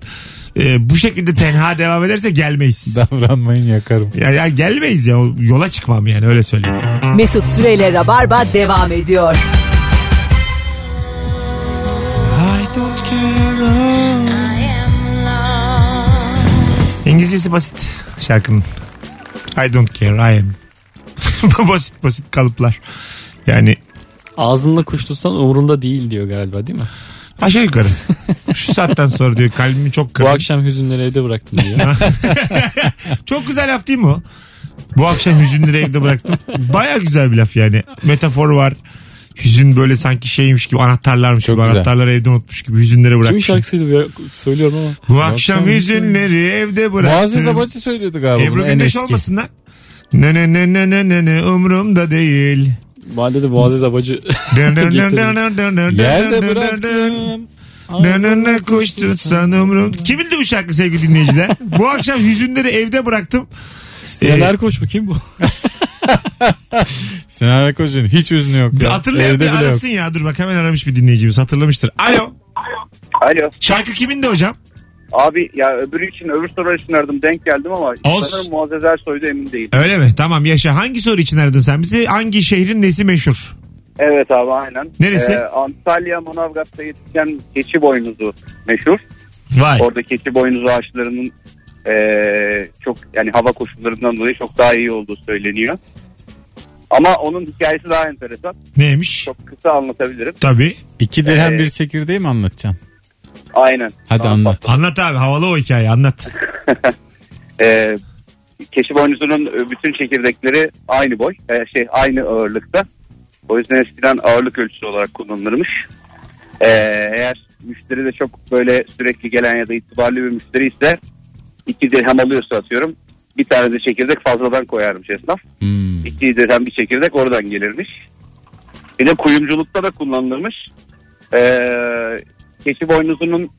Speaker 2: Ee, bu şekilde tenha devam ederse gelmeyiz.
Speaker 3: Davranmayın yakarım.
Speaker 2: ya, ya gelmeyiz ya. Yola çıkmam yani öyle söyleyeyim.
Speaker 1: Mesut Süreyle Rabarba devam ediyor.
Speaker 2: İngilizcesi basit şarkının. I don't care I am. basit basit kalıplar. Yani
Speaker 4: Ağzında kuş tutsan umurunda değil diyor galiba değil mi?
Speaker 2: aşağı yukarı. Şu saatten sonra diyor kalbimi çok
Speaker 4: Bu
Speaker 2: kırdı.
Speaker 4: akşam hüzünleri evde bıraktım diyor.
Speaker 2: Çok güzel laf değil mi o? Bu akşam hüzünleri evde bıraktım. Baya güzel bir laf yani. Metafor var. Hüzün böyle sanki şeymiş gibi anahtarlarmış
Speaker 3: Çok
Speaker 2: gibi.
Speaker 3: güzel.
Speaker 2: Anahtarları evde unutmuş gibi hüzünleri
Speaker 4: Kimin
Speaker 2: bırakmış.
Speaker 4: şarkısıydı ya? Söylüyorum ama.
Speaker 2: Bu akşam
Speaker 3: akşam
Speaker 2: hüzünleri evde
Speaker 3: Muazzez
Speaker 2: bıraktım.
Speaker 3: Abacı söylüyordu galiba
Speaker 2: Ebru
Speaker 3: bunu en
Speaker 2: Gündeş
Speaker 3: eski.
Speaker 2: olmasın lan. Ne ne ne ne ne ne ne umurumda değil.
Speaker 4: Mahallede Muazzez Abacı. Getirdim.
Speaker 3: Yerde
Speaker 2: Nerede
Speaker 3: bıraktım.
Speaker 2: ne kuş tutsan umrum. Kim bildi bu şarkı sevgili dinleyiciler? bu akşam hüzünleri evde bıraktım.
Speaker 4: Sinan
Speaker 2: Ee,
Speaker 4: Erkoç bu kim bu?
Speaker 3: Sinan Erkoç'un hiç hüznü yok.
Speaker 2: Bir
Speaker 3: ya.
Speaker 2: hatırlayan
Speaker 3: Evde
Speaker 2: bir
Speaker 3: bile yok.
Speaker 2: arasın ya. Dur bak hemen aramış bir dinleyicimiz. Hatırlamıştır. Alo.
Speaker 7: Alo.
Speaker 2: Şarkı kimin de hocam?
Speaker 7: Abi ya öbürü için öbür soru için aradım denk geldim ama
Speaker 2: Olsun.
Speaker 7: sanırım Muazzez Ersoy'da emin değil.
Speaker 2: Öyle mi? Tamam yaşa. Hangi soru için aradın sen bizi? Hangi şehrin nesi meşhur?
Speaker 7: Evet abi aynen.
Speaker 2: Neresi?
Speaker 7: Ee, Antalya Manavgat'ta yetişen keçi boynuzu meşhur.
Speaker 2: Vay.
Speaker 7: Orada keçi boynuzu ağaçlarının ee, çok yani hava koşullarından dolayı çok daha iyi olduğu söyleniyor. Ama onun hikayesi daha enteresan.
Speaker 2: Neymiş?
Speaker 7: Çok kısa anlatabilirim.
Speaker 2: Tabii.
Speaker 3: İki dirhem
Speaker 7: Ee,
Speaker 3: bir çekirdeği mi anlatacaksın?
Speaker 7: Aynen.
Speaker 3: Hadi
Speaker 7: Tamam.
Speaker 3: anlat.
Speaker 2: Anlat abi. Havalı o hikaye. Anlat.
Speaker 7: Ee, keçi boynuzunun bütün çekirdekleri aynı boy, e, şey aynı ağırlıkta. O yüzden eskiden ağırlık ölçüsü olarak kullanılırmış. Ee, eğer müşteri de çok böyle sürekli gelen ya da itibarlı bir müşteri ise iki dirhem alıyorsa atıyorum bir tane de çekirdek fazladan koyarmış esnaf.
Speaker 3: Hmm.
Speaker 7: İki desen bir çekirdek oradan gelirmiş. Bir de kuyumculukta da kullanılmış. Ee, keçi boynuzunun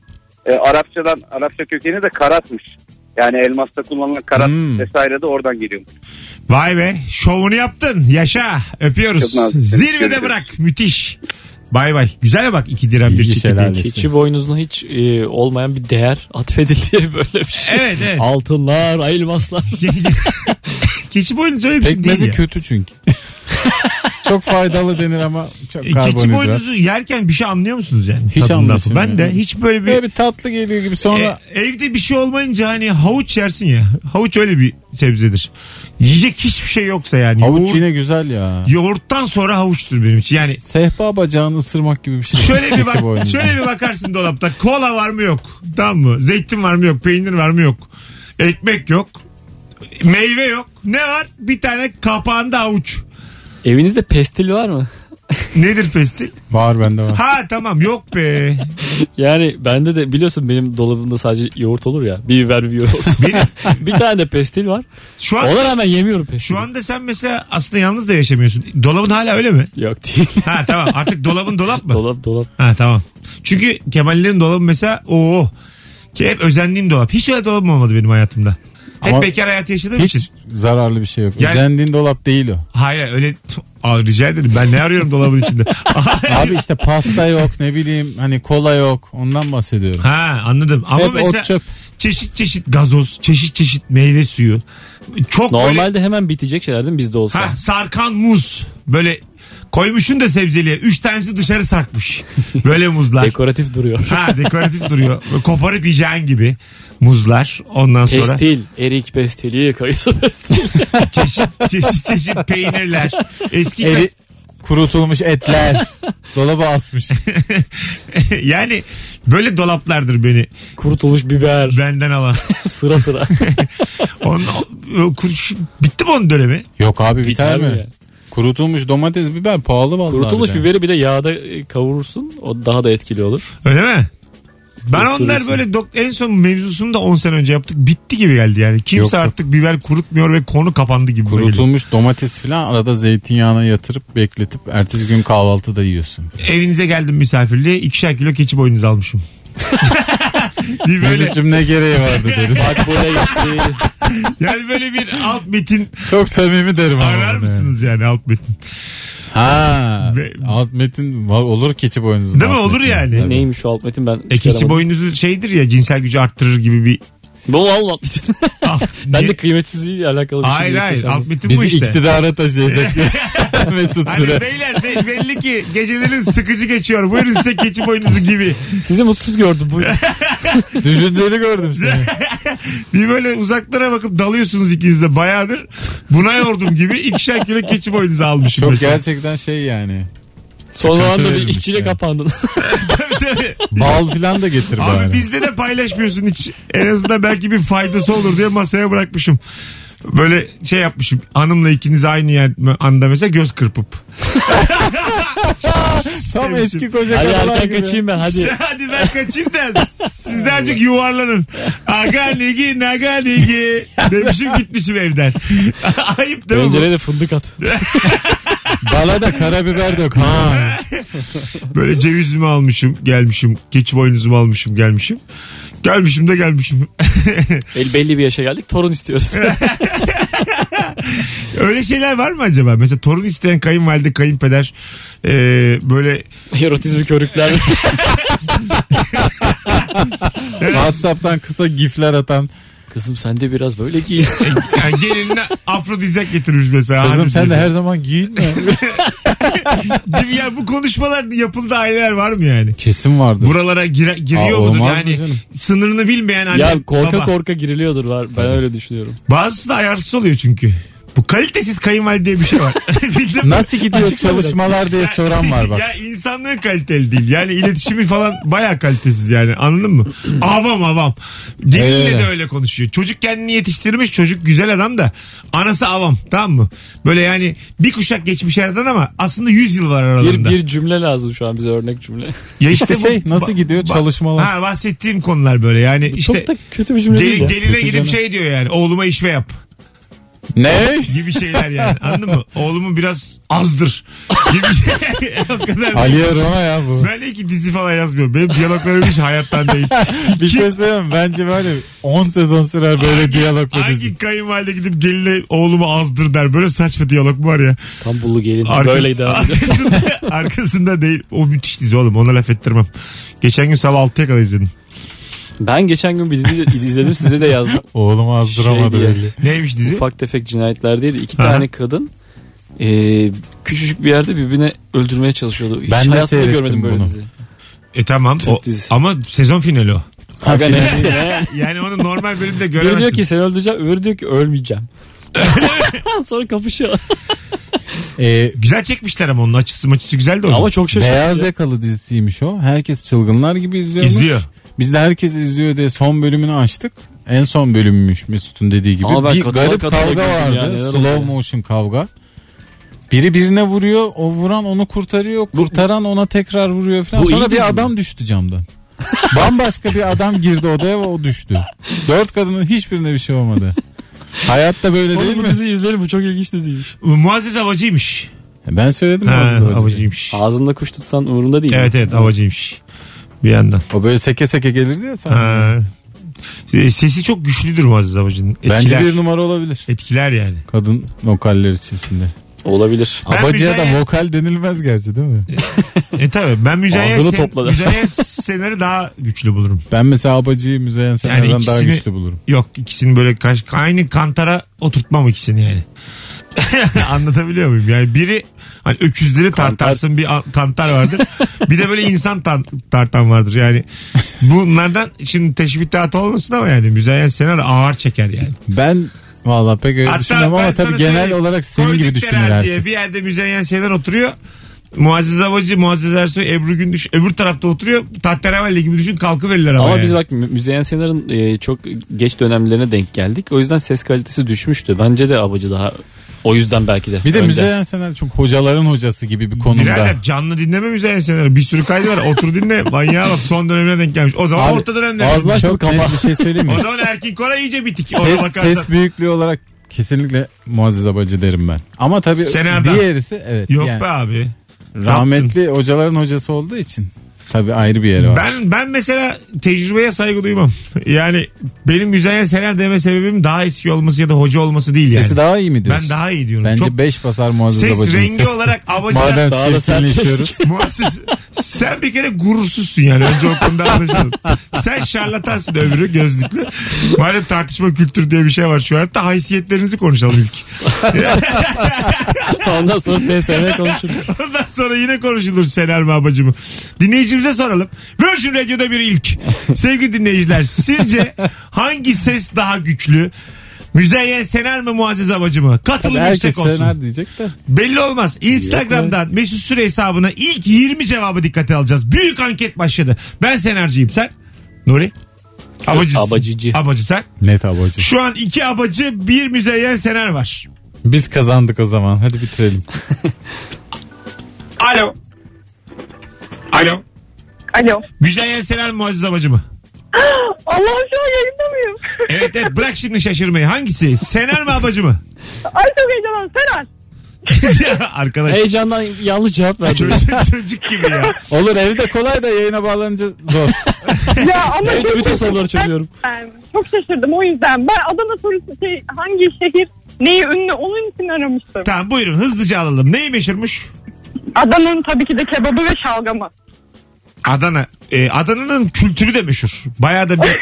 Speaker 7: e, Arapçadan Arapça kökeni de karatmış. Yani elmasta kullanılan karat
Speaker 3: Hmm.
Speaker 7: vesaire de oradan geliyor.
Speaker 2: Vay be şovunu yaptın. Yaşa. Öpüyoruz.
Speaker 7: Çok nazik.
Speaker 2: Zirvede
Speaker 7: Görüşürüz.
Speaker 2: bırak. Müthiş. Bay bay. Güzel bak 2 dirhem bir
Speaker 3: İlginç
Speaker 2: çekirdek.
Speaker 3: helal.
Speaker 4: Keçi boynuzuna hiç e, olmayan bir değer atfedildi böyle bir şey.
Speaker 2: Evet evet.
Speaker 4: Altınlar, elmaslar.
Speaker 2: Keçi boynuzu öyle bir şey değil
Speaker 3: Pekmezi
Speaker 2: ya.
Speaker 3: kötü çünkü. çok faydalı denir ama çok
Speaker 2: E, Keçi
Speaker 3: karbonhidrat.
Speaker 2: boynuzu yerken bir şey anlıyor musunuz yani?
Speaker 3: Hiç
Speaker 2: Tadından
Speaker 3: anlamıyorsun
Speaker 2: Ben
Speaker 3: yani.
Speaker 2: de hiç böyle bir...
Speaker 3: Böyle bir tatlı geliyor gibi sonra
Speaker 2: E, evde bir şey olmayınca hani havuç yersin ya. Havuç öyle bir sebzedir. Yiyecek hiçbir şey yoksa yani.
Speaker 3: havuç
Speaker 2: yoğurt-
Speaker 3: yine güzel ya.
Speaker 2: yoğurttan sonra havuçtur benim için. Yani
Speaker 3: Sehpa bacağını ısırmak gibi bir şey.
Speaker 2: Şöyle bir
Speaker 3: Keçi
Speaker 2: bak,
Speaker 3: boynuzu.
Speaker 2: şöyle bir bakarsın dolapta. Kola var mı yok? Tamam mı? Zeytin var mı yok? Peynir var mı yok? Ekmek yok. Meyve yok. Ne var? Bir tane kapağında avuç.
Speaker 4: Evinizde pestil var mı?
Speaker 2: Nedir pestil?
Speaker 3: Var bende var.
Speaker 2: Ha tamam yok be.
Speaker 4: Yani bende de biliyorsun benim dolabımda sadece yoğurt olur ya. Bir biber bir yoğurt.
Speaker 2: Benim
Speaker 4: bir tane de pestil var.
Speaker 2: şu an
Speaker 4: Ona rağmen yemiyorum pestili.
Speaker 2: şu anda sen mesela aslında yalnız da yaşamıyorsun. Dolabın hala öyle mi?
Speaker 4: Yok değil.
Speaker 2: Ha tamam. Artık dolabın dolap mı?
Speaker 4: dolap dolap.
Speaker 2: Ha tamam. Çünkü Kemal'lerin dolabı mesela o ki hep özendiğim dolap. Hiç öyle dolabım olmadı benim hayatımda. Hep
Speaker 3: Ama
Speaker 2: bekar hayatı yaşadığım için.
Speaker 3: Hiç zararlı bir şey yok.
Speaker 2: Yani-
Speaker 3: Özendiğin dolap değil o.
Speaker 2: Hayır öyle Aa, rica ederim. Ben ne arıyorum dolabın içinde?
Speaker 3: Abi işte pasta yok ne bileyim hani kola yok ondan bahsediyorum.
Speaker 2: ha anladım. Ama
Speaker 3: Hep
Speaker 2: mesela
Speaker 3: ot çöp.
Speaker 2: çeşit çeşit gazoz, çeşit çeşit meyve suyu. Çok böyle
Speaker 4: Normalde hemen bitecek şeyler değil mi bizde olsa?
Speaker 2: ha, sarkan muz. Böyle koymuşun da sebzeliğe. Üç tanesi dışarı sarkmış. Böyle muzlar.
Speaker 4: Dekoratif duruyor.
Speaker 2: ha dekoratif duruyor. Böyle koparıp yiyeceğin gibi muzlar. Ondan sonra
Speaker 4: Pestil, erik pestili, kayısı pestili.
Speaker 2: çeşit çeşit çeşit peynirler. Eski
Speaker 3: Eri, kurutulmuş etler. Dolaba asmış.
Speaker 2: yani böyle dolaplardır beni
Speaker 4: Kurutulmuş biber,
Speaker 2: benden alan.
Speaker 4: sıra sıra.
Speaker 2: Onun, o- kuruş- bitti mi onun dönemi?
Speaker 3: Yok abi biter,
Speaker 4: Biter mi
Speaker 3: mi?
Speaker 4: ya?
Speaker 3: Kurutulmuş domates biber pahalı vallahi.
Speaker 4: Kurutulmuş
Speaker 3: bir de.
Speaker 4: biberi bir de yağda e, kavurursun. O daha da etkili olur.
Speaker 2: Öyle mi? Ben
Speaker 4: Isırırsın.
Speaker 2: onlar böyle dok- en son mevzusunu da 10 sene önce yaptık. Bitti gibi geldi yani. Kimse
Speaker 3: Yok, yok.
Speaker 2: artık biber kurutmuyor ve konu kapandı gibi geliyor.
Speaker 3: Kurutulmuş domates falan arada zeytinyağına yatırıp bekletip ertesi gün kahvaltıda yiyorsun.
Speaker 2: Evinize geldim misafirliğe. ikişer kilo keçi boynuzu almışım. bir böyle,
Speaker 3: Mesut'cum ne gereği vardı deriz.
Speaker 4: Bak buraya geçti.
Speaker 2: yani böyle bir alt metin
Speaker 3: Çok samimi derim ama.
Speaker 2: arar
Speaker 3: bunu.
Speaker 2: mısınız yani alt metin?
Speaker 3: Ha.
Speaker 2: Ve-
Speaker 3: Alt metin var- olur keçi boynuzu.
Speaker 2: Değil mi? Olur yani.
Speaker 4: Ne- Neymiş o alt metin ben
Speaker 2: E, keçi
Speaker 4: çıkaramadım.
Speaker 2: boynuzu şeydir ya cinsel gücü arttırır gibi bir...
Speaker 4: Bu alt metin.
Speaker 2: Ah,
Speaker 4: ben
Speaker 2: niye-
Speaker 4: de kıymetsizliğiyle alakalı bir şey
Speaker 2: hayır
Speaker 4: değil
Speaker 2: hayır
Speaker 4: istesem de.
Speaker 2: alt metin bu
Speaker 3: Bizi
Speaker 2: işte.
Speaker 3: iktidara taşıyacak Mesut
Speaker 2: Hani
Speaker 3: Süre.
Speaker 2: beyler be- belli ki gecelerin sıkıcı geçiyor. Buyurun size keçi boynuzu gibi.
Speaker 4: Sizi mutsuz gördüm bu.
Speaker 3: Düşünceli gördüm seni.
Speaker 2: Bir böyle uzaklara bakıp dalıyorsunuz ikiniz de bayağıdır. Buna yordum gibi ikişer kilo keçi boynuzu almışım.
Speaker 3: Çok
Speaker 2: mesela.
Speaker 3: gerçekten şey yani.
Speaker 4: Son zamanda bir
Speaker 3: verilmiş
Speaker 4: içine
Speaker 3: yani.
Speaker 4: kapandın.
Speaker 2: Tabii, tabii.
Speaker 3: Bal filan da getir bari.
Speaker 2: Abi bizde de paylaşmıyorsun hiç. En azından belki bir faydası olur diye masaya bırakmışım. Böyle şey yapmışım. Hanımla ikiniz aynı yer, anda mesela göz kırpıp.
Speaker 3: Tam eski koca
Speaker 4: Hadi
Speaker 3: karılar
Speaker 4: erken
Speaker 3: gibi.
Speaker 4: kaçayım ben hadi.
Speaker 2: Hadi ben kaçayım da siz de azıcık yuvarlanın. Aga ligi naga ligi demişim gitmişim evden. Ayıp değil mi? bu?
Speaker 4: Pencereye de fındık at.
Speaker 3: Bala da karabiber dök. Ha.
Speaker 2: Böyle cevizimi almışım gelmişim. Keçi boynuzumu almışım gelmişim. Gelmişim de gelmişim.
Speaker 4: Bel- belli bir yaşa geldik torun istiyoruz.
Speaker 2: Öyle şeyler var mı acaba? Mesela torun isteyen kayınvalide, kayınpeder e, böyle
Speaker 4: Erotizmi körükler.
Speaker 3: Whatsapp'tan kısa gifler atan.
Speaker 4: Kızım sen de biraz böyle giyin.
Speaker 2: yani gelinine afrodizyak getirmiş mesela.
Speaker 3: Kızım
Speaker 2: Hadi
Speaker 3: sen de
Speaker 2: dedi.
Speaker 3: her zaman giyinme.
Speaker 2: Değil mi? Yani bu konuşmalar yapıldı aileler var mı yani?
Speaker 3: Kesin vardır.
Speaker 2: Buralara gire- giriyor
Speaker 3: Aa,
Speaker 2: mudur?
Speaker 3: olmaz mı
Speaker 2: Yani
Speaker 3: canım?
Speaker 2: sınırını bilmeyen anne
Speaker 4: ya korka
Speaker 2: baba.
Speaker 4: korka giriliyordur var. Ben öyle düşünüyorum.
Speaker 2: Bazısı da ayarsız oluyor çünkü. Bu kalitesiz kayınvalide diye bir şey var. Bildin mi?
Speaker 3: Nasıl gidiyor çalışmalar diye soran var bak.
Speaker 2: Ya insanlığın kaliteli değil. Yani iletişimi falan bayağı kalitesiz yani. Anladın mı? avam avam. Gelinle
Speaker 3: Ee.
Speaker 2: de öyle konuşuyor. Çocuk kendini yetiştirmiş. Çocuk güzel adam da. Anası avam. Tamam mı? Böyle yani bir kuşak geçmiş yerden ama aslında 100 yıl var
Speaker 4: Bir,
Speaker 2: aralarında.
Speaker 4: bir cümle lazım şu an bize örnek cümle.
Speaker 2: ya
Speaker 3: İşte
Speaker 2: bu-
Speaker 3: şey nasıl gidiyor
Speaker 2: ba-
Speaker 3: çalışmalar.
Speaker 2: Ha bahsettiğim konular böyle yani işte
Speaker 4: Çok da kötü bir cümle
Speaker 2: gel-
Speaker 4: değil ya.
Speaker 2: geline
Speaker 3: Kötü
Speaker 2: gidip
Speaker 3: canım.
Speaker 2: şey diyor yani oğluma işve yap.
Speaker 3: Ne?
Speaker 2: gibi şeyler yani. Anladın mı? Oğlumu biraz azdır gibi şey. o kadar.
Speaker 3: Ali Erona ya bu.
Speaker 2: Ben iyi ki dizi falan yazmıyorum. Benim diyaloglarım hiç hayattan değil.
Speaker 3: Bir şey söyleyeyim mi? Bence böyle 10 sezon sürer böyle diyalogla dizi.
Speaker 2: Hangi kayınvalide gidip geline oğlumu azdır der. Böyle saçma diyalog mu var ya?
Speaker 4: İstanbullu gelin
Speaker 2: Arka- Ah.
Speaker 4: böyleydi abi.
Speaker 2: Arkasında, arkasında değil. O müthiş dizi oğlum. Ona laf ettirmem. Geçen gün sabah 6'ya kadar izledim.
Speaker 4: Ben geçen gün bir dizi izledim size de yazdım.
Speaker 3: Oğlumu azdıramadı
Speaker 4: Şey diye.
Speaker 3: belli.
Speaker 2: Neymiş dizi?
Speaker 4: Ufak tefek cinayetler değil. iki
Speaker 2: Aha.
Speaker 4: tane kadın e, küçücük bir yerde birbirini öldürmeye çalışıyordu. Hiç
Speaker 3: Ben de
Speaker 4: hayatımda
Speaker 3: seyrettim
Speaker 4: görmedim böyle
Speaker 3: bunu.
Speaker 4: dizi.
Speaker 2: E tamam.
Speaker 4: Türk
Speaker 2: O,
Speaker 4: dizisi.
Speaker 2: ama sezon finali o.
Speaker 4: Aga neyse.
Speaker 2: Yani onu normal bölümde
Speaker 4: Biri diyor
Speaker 2: göremezsin.
Speaker 4: ki sen öldüreceğim, öbürü diyor ki ölmeyeceğim. Sonra kapışıyor.
Speaker 3: Ee,
Speaker 2: Güzel çekmişler ama onun açısı maçısı güzel de o.
Speaker 4: "E, Ama çok şaşırdım.
Speaker 3: Beyaz Yakalı dizisiymiş o. Herkes çılgınlar gibi izliyormuş.
Speaker 2: İzliyor.
Speaker 3: Biz de herkes izliyor diye son bölümünü açtık. En son bölümmüş Mesut'un dediği gibi.
Speaker 4: Ama ben
Speaker 3: bir
Speaker 4: katıla
Speaker 3: garip
Speaker 4: katıla
Speaker 3: kavga
Speaker 4: güldüm
Speaker 3: vardı.
Speaker 4: ya, neler
Speaker 3: Slow
Speaker 4: oluyor?
Speaker 3: motion kavga. Biri birine vuruyor. O vuran onu kurtarıyor. Kurtaran ona tekrar vuruyor falan.
Speaker 4: Bu iyi
Speaker 3: Sonra
Speaker 4: dizi
Speaker 3: bir
Speaker 4: mi?
Speaker 3: adam düştü camdan. Bambaşka bir adam girdi odaya ve o düştü. Dört kadının hiçbirine bir şey olmadı. Hayatta böyle değil
Speaker 4: Oğlum bu
Speaker 3: mi?
Speaker 4: diziyi izlerim bu çok ilginç diziymiş.
Speaker 2: Muazzez Avacı'ymış.
Speaker 3: Ben söyledim.
Speaker 2: Ha,
Speaker 3: ya az önce.
Speaker 2: avacıymış.
Speaker 4: Ağzında kuş tutsan umurunda değil.
Speaker 2: Evet evet avacıymış. Bir yandan.
Speaker 3: O böyle seke seke gelirdi ya sana.
Speaker 2: Ha. E, Sesi çok güçlüdür Muazzez Avacı'nın. Etkiler.
Speaker 3: Bence bir numara olabilir.
Speaker 2: Etkiler yani.
Speaker 3: Kadın vokaller içerisinde.
Speaker 4: Olabilir.
Speaker 2: Ben
Speaker 3: Abacıya
Speaker 2: müzayyen-
Speaker 3: da vokal denilmez gerçi değil mi?
Speaker 2: E tabi ben Müzeyyen,
Speaker 4: Ağzını
Speaker 2: sen,
Speaker 4: topladı.
Speaker 2: Müzeyyen Sener'i daha güçlü bulurum.
Speaker 3: Ben mesela Abacı'yı Müzeyyen Senar'dan
Speaker 2: Yani
Speaker 3: daha
Speaker 2: ikisini-
Speaker 3: güçlü bulurum.
Speaker 2: Yok ikisini böyle karşı, aynı kantara oturtmam ikisini yani. Anlatabiliyor muyum? Yani biri hani öküzleri tartarsın bir a- kantar vardır. bir de böyle insan tan- tartan vardır. Yani bunlardan şimdi teşbihat olmasın ama yani Müzeyyen Sener ağır çeker yani.
Speaker 3: Ben valla pek öyle düşünmem ama
Speaker 2: ben sana
Speaker 3: tabii genel
Speaker 2: söyleyeyim.
Speaker 3: olarak senin
Speaker 2: Koyduk
Speaker 3: gibi düşünür
Speaker 2: teraziye,
Speaker 3: herkes.
Speaker 2: Bir yerde Müzeyyen Senar oturuyor. Muazzez Abacı, Muazzez Ersoy, Ebru Gündüz öbür tarafta oturuyor. Tahterevalli gibi düşün kalkıverirler ama,
Speaker 4: Ama
Speaker 2: yani.
Speaker 4: biz bak Mü- Müzeyyen Senar'ın e, çok geç dönemlerine denk geldik. O yüzden ses kalitesi düşmüştü. Bence de Abacı daha o yüzden belki de.
Speaker 3: Bir de
Speaker 4: önde.
Speaker 3: Müzeyyen Senar çok hocaların hocası gibi bir konumda.
Speaker 2: Birader canlı dinleme Müzeyyen Senar'ı. Bir sürü kaydı var. Otur dinle. Manyağa bak son dönemine denk gelmiş. O zaman
Speaker 3: Abi,
Speaker 2: orta dönemde.
Speaker 3: Ağzına çok net bir şey söyleyeyim
Speaker 2: O
Speaker 3: mi?
Speaker 2: zaman Erkin Koray iyice bitik. Ona
Speaker 3: ses,
Speaker 2: bakarsan.
Speaker 3: ses büyüklüğü olarak kesinlikle Muazzez Abacı derim ben. Ama tabii
Speaker 2: Senar'dan.
Speaker 3: diğerisi evet.
Speaker 2: Yok
Speaker 3: yani
Speaker 2: be abi.
Speaker 3: rahmetli hocaların hocası olduğu için tabii ayrı bir yeri var.
Speaker 2: Ben ben mesela tecrübeye saygı duymam. Yani benim Müzeyyen Senar deme sebebim daha eski olması ya da hoca olması değil yani.
Speaker 3: Sesi daha iyi mi diyorsun?
Speaker 2: ben daha iyi diyorum.
Speaker 3: Bence
Speaker 2: Çok
Speaker 3: 5 basar Muazzez
Speaker 2: Ses
Speaker 3: Abacı'nın
Speaker 2: rengi
Speaker 3: sesi.
Speaker 2: olarak avacılar
Speaker 3: Madem
Speaker 4: Daha da
Speaker 3: çirkinleşiyoruz.
Speaker 2: Muazzez, sen bir kere gurursuzsun yani önce o konuda anlaşalım. Sen şarlatansın öbürü gözlüklü. Madem tartışma kültürü diye bir şey var şu hayatta haysiyetlerinizi konuşalım ilk.
Speaker 4: Ondan sonra PSV konuşuruz.
Speaker 2: Ondan sonra yine konuşulur Sener mi abacı mı? Dinleyicimize soralım. Virgin Radio'da bir ilk. Sevgili dinleyiciler sizce hangi ses daha güçlü? Müzeyyen Sener mi Muazzez Abacı mı? Katılım
Speaker 3: Herkes
Speaker 2: yüksek olsun.
Speaker 3: Senar diyecek de.
Speaker 2: Belli olmaz. Instagram'dan Mesut Süre hesabına ilk 20 cevabı dikkate alacağız. Büyük anket başladı. Ben Senerciyim sen? Nuri? Abacısın.
Speaker 4: Abacıcı.
Speaker 2: Abacı sen.
Speaker 3: Net Abacı.
Speaker 2: Şu an iki abacı bir müzeyyen Sener var.
Speaker 3: Biz kazandık o zaman. Hadi bitirelim.
Speaker 2: Alo. Alo.
Speaker 5: Alo.
Speaker 2: Müzeyyen Sener mi Muazzez Abacı mı?
Speaker 5: Allah'ım şu an yayında mıyım?
Speaker 2: Evet evet bırak şimdi şaşırmayı. Hangisi? Sener mi abacı mı?
Speaker 5: Ay çok heyecanlandım. Sener.
Speaker 2: Ya Arkadaş.
Speaker 4: Heyecandan yanlış cevap verdim.
Speaker 2: Çocuk, çocuk gibi ya.
Speaker 3: Olur evde kolay da yayına bağlanınca zor.
Speaker 5: Ya ama şey
Speaker 4: Evde bütün soruları çözüyorum.
Speaker 5: Ben çok şaşırdım o yüzden. Ben Adana sorusu şey, hangi şehir neyi ünlü onun için aramıştım.
Speaker 2: Tamam buyurun hızlıca alalım. Neyi meşhurmuş?
Speaker 5: Adana'nın tabii ki de kebabı ve şalgamı.
Speaker 2: Adana. Ee, Adana'nın kültürü de meşhur. Bayağı da bir...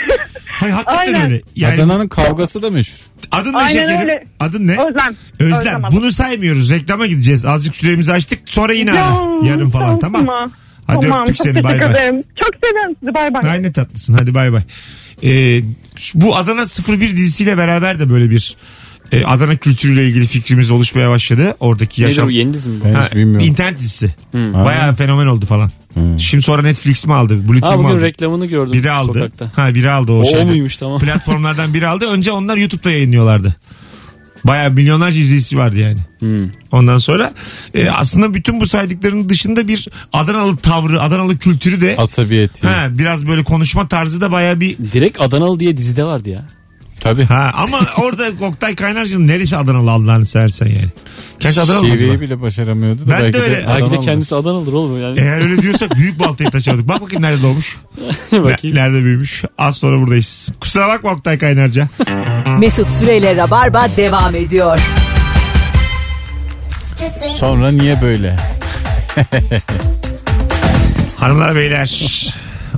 Speaker 2: Hayır hakikaten
Speaker 5: Aynen.
Speaker 2: öyle. Yani
Speaker 3: Adana'nın kavgası da meşhur.
Speaker 2: adın ne
Speaker 5: Aynen
Speaker 2: şekerim?
Speaker 5: öyle.
Speaker 2: Adın ne?
Speaker 5: Özlem.
Speaker 2: Özlem.
Speaker 5: Hanım.
Speaker 2: Bunu saymıyoruz. Reklama gideceğiz. Azıcık süremizi açtık. Sonra yine ara.
Speaker 5: Ya,
Speaker 2: Yarın falan tamam. Hadi
Speaker 5: tamam.
Speaker 2: öptük
Speaker 5: çok
Speaker 2: seni. Bay
Speaker 5: teşekkür
Speaker 2: bay.
Speaker 5: ederim. Çok seviyorum sizi bay bay.
Speaker 2: Ay ne tatlısın. Hadi bay bay. Ee, şu- bu Adana 01 dizisiyle beraber de böyle bir e, Adana kültürüyle ilgili fikrimiz oluşmaya başladı. Oradaki
Speaker 4: Nedir
Speaker 2: yaşam.
Speaker 4: bu yeni dizi mi? bu?
Speaker 3: Ben
Speaker 2: Ha,
Speaker 3: hiç bilmiyorum.
Speaker 2: internet dizisi.
Speaker 3: Ha.
Speaker 2: Bayağı fenomen oldu falan. Şimdi sonra Netflix mi aldı? Blue
Speaker 4: Ha
Speaker 2: Team mi
Speaker 4: bugün
Speaker 2: aldı?
Speaker 4: reklamını gördüm
Speaker 2: Biri aldı.
Speaker 4: sokakta.
Speaker 2: Ha biri aldı o,
Speaker 4: O,
Speaker 2: şeyde.
Speaker 4: o muymuş tamam.
Speaker 2: Platformlardan biri aldı. Önce onlar YouTube'da yayınlıyorlardı. Bayağı milyonlarca izleyicisi vardı yani.
Speaker 4: Hmm.
Speaker 2: Ondan sonra e, aslında bütün bu saydıklarının dışında bir Adanalı tavrı, Adanalı kültürü de
Speaker 3: Asabiyeti.
Speaker 2: ha, biraz böyle konuşma tarzı da bayağı bir
Speaker 4: Direkt Adanalı diye dizide vardı ya.
Speaker 3: Tabii.
Speaker 2: Ha, ama orada Oktay Kaynarca'nın neresi Adanalı Allah'ını seversen yani. Gerçi Adanalı mı?
Speaker 3: Şiveyi bile başaramıyordu da
Speaker 2: Ben de
Speaker 3: belki de,
Speaker 2: öyle.
Speaker 3: Adanalı.
Speaker 4: Belki de kendisi Adanalı'dır oğlum yani.
Speaker 2: Eğer öyle diyorsak büyük baltayı taşıyorduk. Bak bakayım nerede doğmuş.
Speaker 4: Bakayım.
Speaker 2: Nerede büyümüş. Az sonra buradayız. Kusura bakma Oktay Kaynarca.
Speaker 1: Mesut Süreyle Rabarba devam ediyor.
Speaker 3: Sonra niye böyle?
Speaker 2: Hanımlar beyler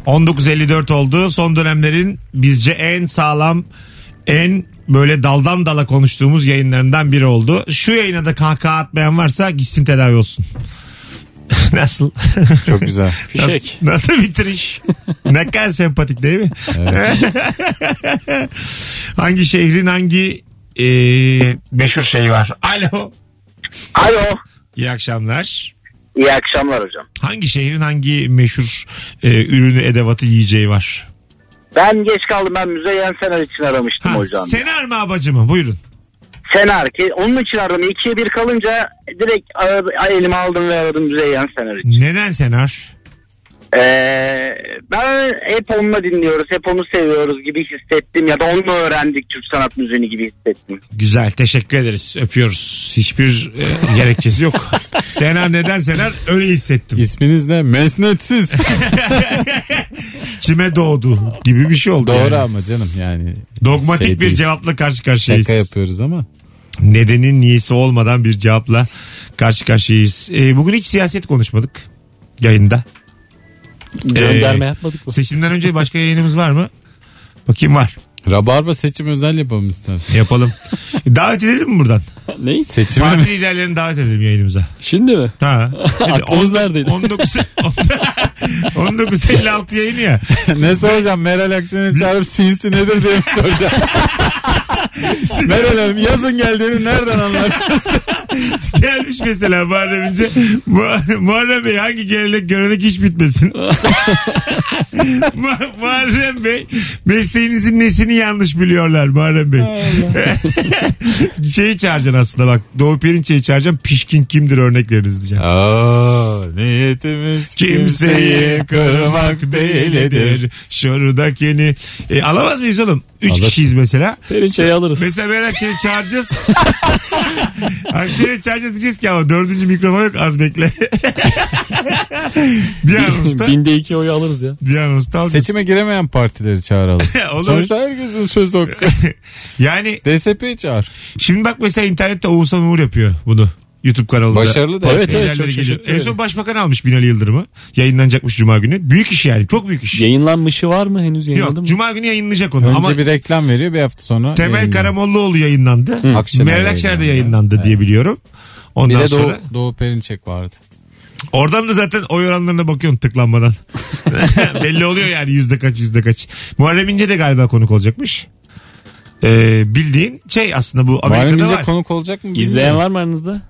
Speaker 2: 19.54 oldu. Son dönemlerin bizce en sağlam en böyle daldan dala konuştuğumuz yayınlarından biri oldu. Şu yayına da kahkaha atmayan varsa gitsin tedavi olsun. Nasıl?
Speaker 3: Çok güzel.
Speaker 4: Fişek.
Speaker 2: Nasıl bitiriş? ne kadar sempatik değil mi? hangi şehrin hangi e, meşhur şeyi var? Alo.
Speaker 7: Alo.
Speaker 2: İyi akşamlar.
Speaker 7: İyi akşamlar hocam.
Speaker 2: Hangi şehrin hangi meşhur e, ürünü, edevatı, yiyeceği var?
Speaker 7: Ben geç kaldım. Ben Müzeyyen Senar için aramıştım
Speaker 2: Ha,
Speaker 7: hocam.
Speaker 2: Senar mı abacı mı? Buyurun.
Speaker 7: Senar ki onun için aradım. İkiye bir kalınca direkt aradım, elime aldım ve aradım Müzeyyen Senar için.
Speaker 2: Neden Senar?
Speaker 7: Ee, ben hep onunla dinliyoruz, hep onu seviyoruz gibi hissettim ya da onunla öğrendik Türk sanat müziğini gibi hissettim.
Speaker 2: Güzel teşekkür ederiz. Öpüyoruz. Hiçbir e, gerekçesi yok. Senar neden Senar? Öyle hissettim.
Speaker 3: İsminiz ne? Mesnetsiz.
Speaker 2: İçime doğdu gibi bir şey oldu.
Speaker 3: Doğru
Speaker 2: yani.
Speaker 3: ama canım yani.
Speaker 2: Dogmatik
Speaker 3: şey
Speaker 2: bir
Speaker 3: değil.
Speaker 2: cevapla karşı karşıyayız.
Speaker 3: Şaka yapıyoruz ama.
Speaker 2: Nedenin niyesi olmadan bir cevapla karşı karşıyayız. E, bugün hiç siyaset konuşmadık yayında.
Speaker 4: Gönderme
Speaker 2: Ee,
Speaker 4: yapmadık mı?
Speaker 2: Seçimden önce başka yayınımız var mı? Bakayım var.
Speaker 3: Rabarba seçim özel yapalım istersen.
Speaker 2: Yapalım. davet edelim mi buradan?
Speaker 4: Neyi?
Speaker 3: Seçimi mi?
Speaker 2: Parti liderlerini davet edelim yayınımıza.
Speaker 4: Şimdi mi?
Speaker 2: Ha.
Speaker 4: Aklımız neredeydi?
Speaker 2: 19 1956 yayını ya.
Speaker 3: ne soracağım? Meral Akşener'i çağırıp sinsi nedir diye mi soracağım? Meral Hanım yazın geldiğini nereden anlarsınız?
Speaker 2: Gelmiş mesela Muharrem İnce. Mu- Muharrem Bey hangi gelenek görenek hiç bitmesin. Mu- Muharrem Bey mesleğinizin nesini yanlış biliyorlar Muharrem Bey. şeyi çağıracaksın aslında bak. Doğu Perinçe'yi çağıracaksın. Pişkin kimdir örnek veriniz diyeceğim.
Speaker 3: Aa, niyetimiz
Speaker 2: Kimseyi kırmak değildir. Şuradakini. E, alamaz mıyız oğlum? Üç
Speaker 3: Alırsın.
Speaker 2: kişiyiz mesela.
Speaker 4: Perinçeyi alırız.
Speaker 2: Mesela ben Akşener'i çağıracağız. Akşener'i çağıracağız diyeceğiz ki ama dördüncü mikrofon yok az bekle. bir an usta.
Speaker 4: Binde iki oyu alırız ya.
Speaker 2: bir an usta. alacağız.
Speaker 3: Seçime giremeyen partileri çağıralım.
Speaker 2: Olur.
Speaker 3: Sonuçta herkesin söz hakkı.
Speaker 2: Yani
Speaker 3: DSP'yi çağır.
Speaker 2: şimdi bak mesela internette Oğuzhan Uğur yapıyor bunu. YouTube kanalında.
Speaker 3: Başarılı da.
Speaker 4: Evet,
Speaker 2: Haberleri
Speaker 4: çok
Speaker 2: geliyor.
Speaker 4: şaşırtıcı.
Speaker 2: En son başbakan almış Binali Yıldırım'ı. Yayınlanacakmış Cuma günü. Büyük iş yani. Çok büyük iş.
Speaker 4: Yayınlanmışı var mı henüz yayınladım
Speaker 2: Yok.
Speaker 4: mı?
Speaker 2: Cuma günü yayınlanacak onu.
Speaker 3: Önce
Speaker 2: Ama
Speaker 3: bir reklam veriyor bir hafta sonra.
Speaker 2: Temel
Speaker 3: yayınlıyor.
Speaker 2: Karamollaoğlu yayınlandı.
Speaker 3: Akşener
Speaker 2: Meral Akşener de
Speaker 3: yayınlandı.
Speaker 2: yayınlandı diye biliyorum.
Speaker 3: Bir
Speaker 2: Ondan
Speaker 3: de
Speaker 2: sonra
Speaker 3: Doğu, Doğu Perinçek vardı.
Speaker 2: Oradan da zaten oy oranlarına bakıyorsun tıklanmadan. Belli oluyor yani yüzde kaç yüzde kaç. Muharrem İnce de galiba konuk olacakmış. Ee, bildiğin şey aslında bu
Speaker 3: Muharrem
Speaker 2: Amerika'da
Speaker 3: İnce
Speaker 2: var.
Speaker 3: konuk olacak mı?
Speaker 4: İzleyen var mı aranızda?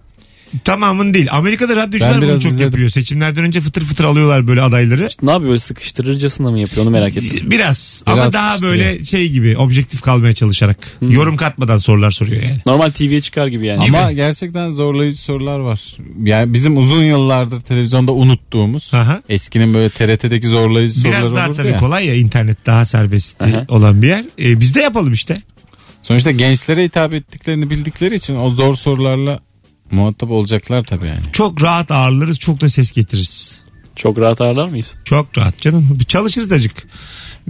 Speaker 2: Tamamın değil. Amerika'da radyocular
Speaker 3: Ben
Speaker 2: bunu
Speaker 3: biraz
Speaker 2: çok
Speaker 3: izledim.
Speaker 2: yapıyor. Seçimlerden önce fıtır fıtır alıyorlar böyle adayları.
Speaker 4: Ne yapıyor? Böyle Sıkıştırırcasına mı yapıyor onu merak ettim.
Speaker 2: Biraz, ama
Speaker 3: Biraz Hmm.
Speaker 2: daha
Speaker 3: tutuyor.
Speaker 2: böyle şey gibi objektif kalmaya çalışarak. Yorum katmadan sorular soruyor yani.
Speaker 4: Normal TV'ye çıkar gibi yani.
Speaker 3: Ama gerçekten zorlayıcı sorular var. Yani bizim uzun yıllardır televizyonda unuttuğumuz
Speaker 2: Aha.
Speaker 3: eskinin böyle TRT'deki zorlayıcı
Speaker 2: Biraz
Speaker 3: soruları
Speaker 2: daha
Speaker 3: olurdu
Speaker 2: tabii
Speaker 3: ya.
Speaker 2: kolay ya internet daha serbest
Speaker 4: Aha.
Speaker 2: olan bir yer. Ee, biz de yapalım işte.
Speaker 3: Sonuçta gençlere hitap ettiklerini bildikleri için o zor sorularla muhatap olacaklar tabii yani.
Speaker 2: Çok rahat ağırlarız çok da ses getiririz.
Speaker 4: Çok rahat ağırlar mıyız?
Speaker 2: Çok rahat canım. Bir Çalışırız acık.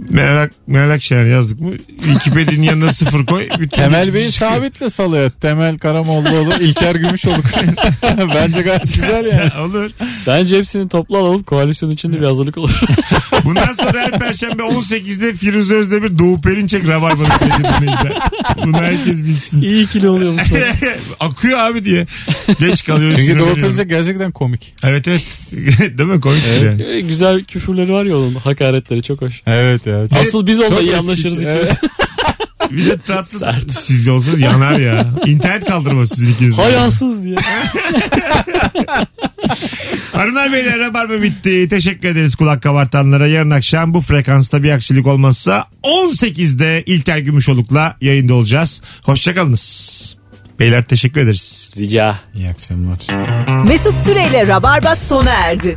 Speaker 2: Meral, Ak- Meral Akşener yazdık mı? Wikipedia'nın yanına sıfır koy. Bütün
Speaker 3: Temel
Speaker 2: geçmiş
Speaker 3: Bey'in
Speaker 2: çıkıyor.
Speaker 3: sabitle salıyor. Temel Karamollaoğlu, İlker Gümüşoluk. Bence gayet güzel yani.
Speaker 2: Olur.
Speaker 4: Bence hepsini toplu alalım koalisyon içinde bir hazırlık olur.
Speaker 2: Bundan sonra her perşembe 18'de Firuze Özdemir Doğu Perinçek Rabarba'da seyredilmeyiz. Bunu herkes bilsin.
Speaker 4: İyi ikili oluyormuş.
Speaker 2: Akıyor abi diye. Geç kalıyoruz.
Speaker 3: Çünkü Doğu
Speaker 2: sinirleniyorum.
Speaker 3: Perinçek gerçekten komik.
Speaker 2: Evet evet. Değil mi? Komik bir yani.
Speaker 4: Ee, Güzel küfürleri var ya onun hakaretleri çok hoş.
Speaker 3: Evet ya. Çok-
Speaker 4: Asıl biz onunla
Speaker 3: Çok
Speaker 4: iyi
Speaker 3: eski.
Speaker 4: anlaşırız
Speaker 3: Evet.
Speaker 4: ikimiz.
Speaker 2: Bir de tatlı.
Speaker 4: Sert.
Speaker 2: Siz olsanız yanar ya. İnternet kaldırmaz sizin ikiniz.
Speaker 4: Hayansız diye.
Speaker 2: Hanımlar beyler rabarba bitti. Teşekkür ederiz kulak kabartanlara. Yarın akşam bu frekansta bir aksilik olmazsa 18'de İlker Gümüşoluk'la yayında olacağız. Hoşçakalınız. Beyler teşekkür ederiz.
Speaker 4: Rica.
Speaker 3: İyi akşamlar.
Speaker 1: Mesut Süreyle Rabarba sona erdi.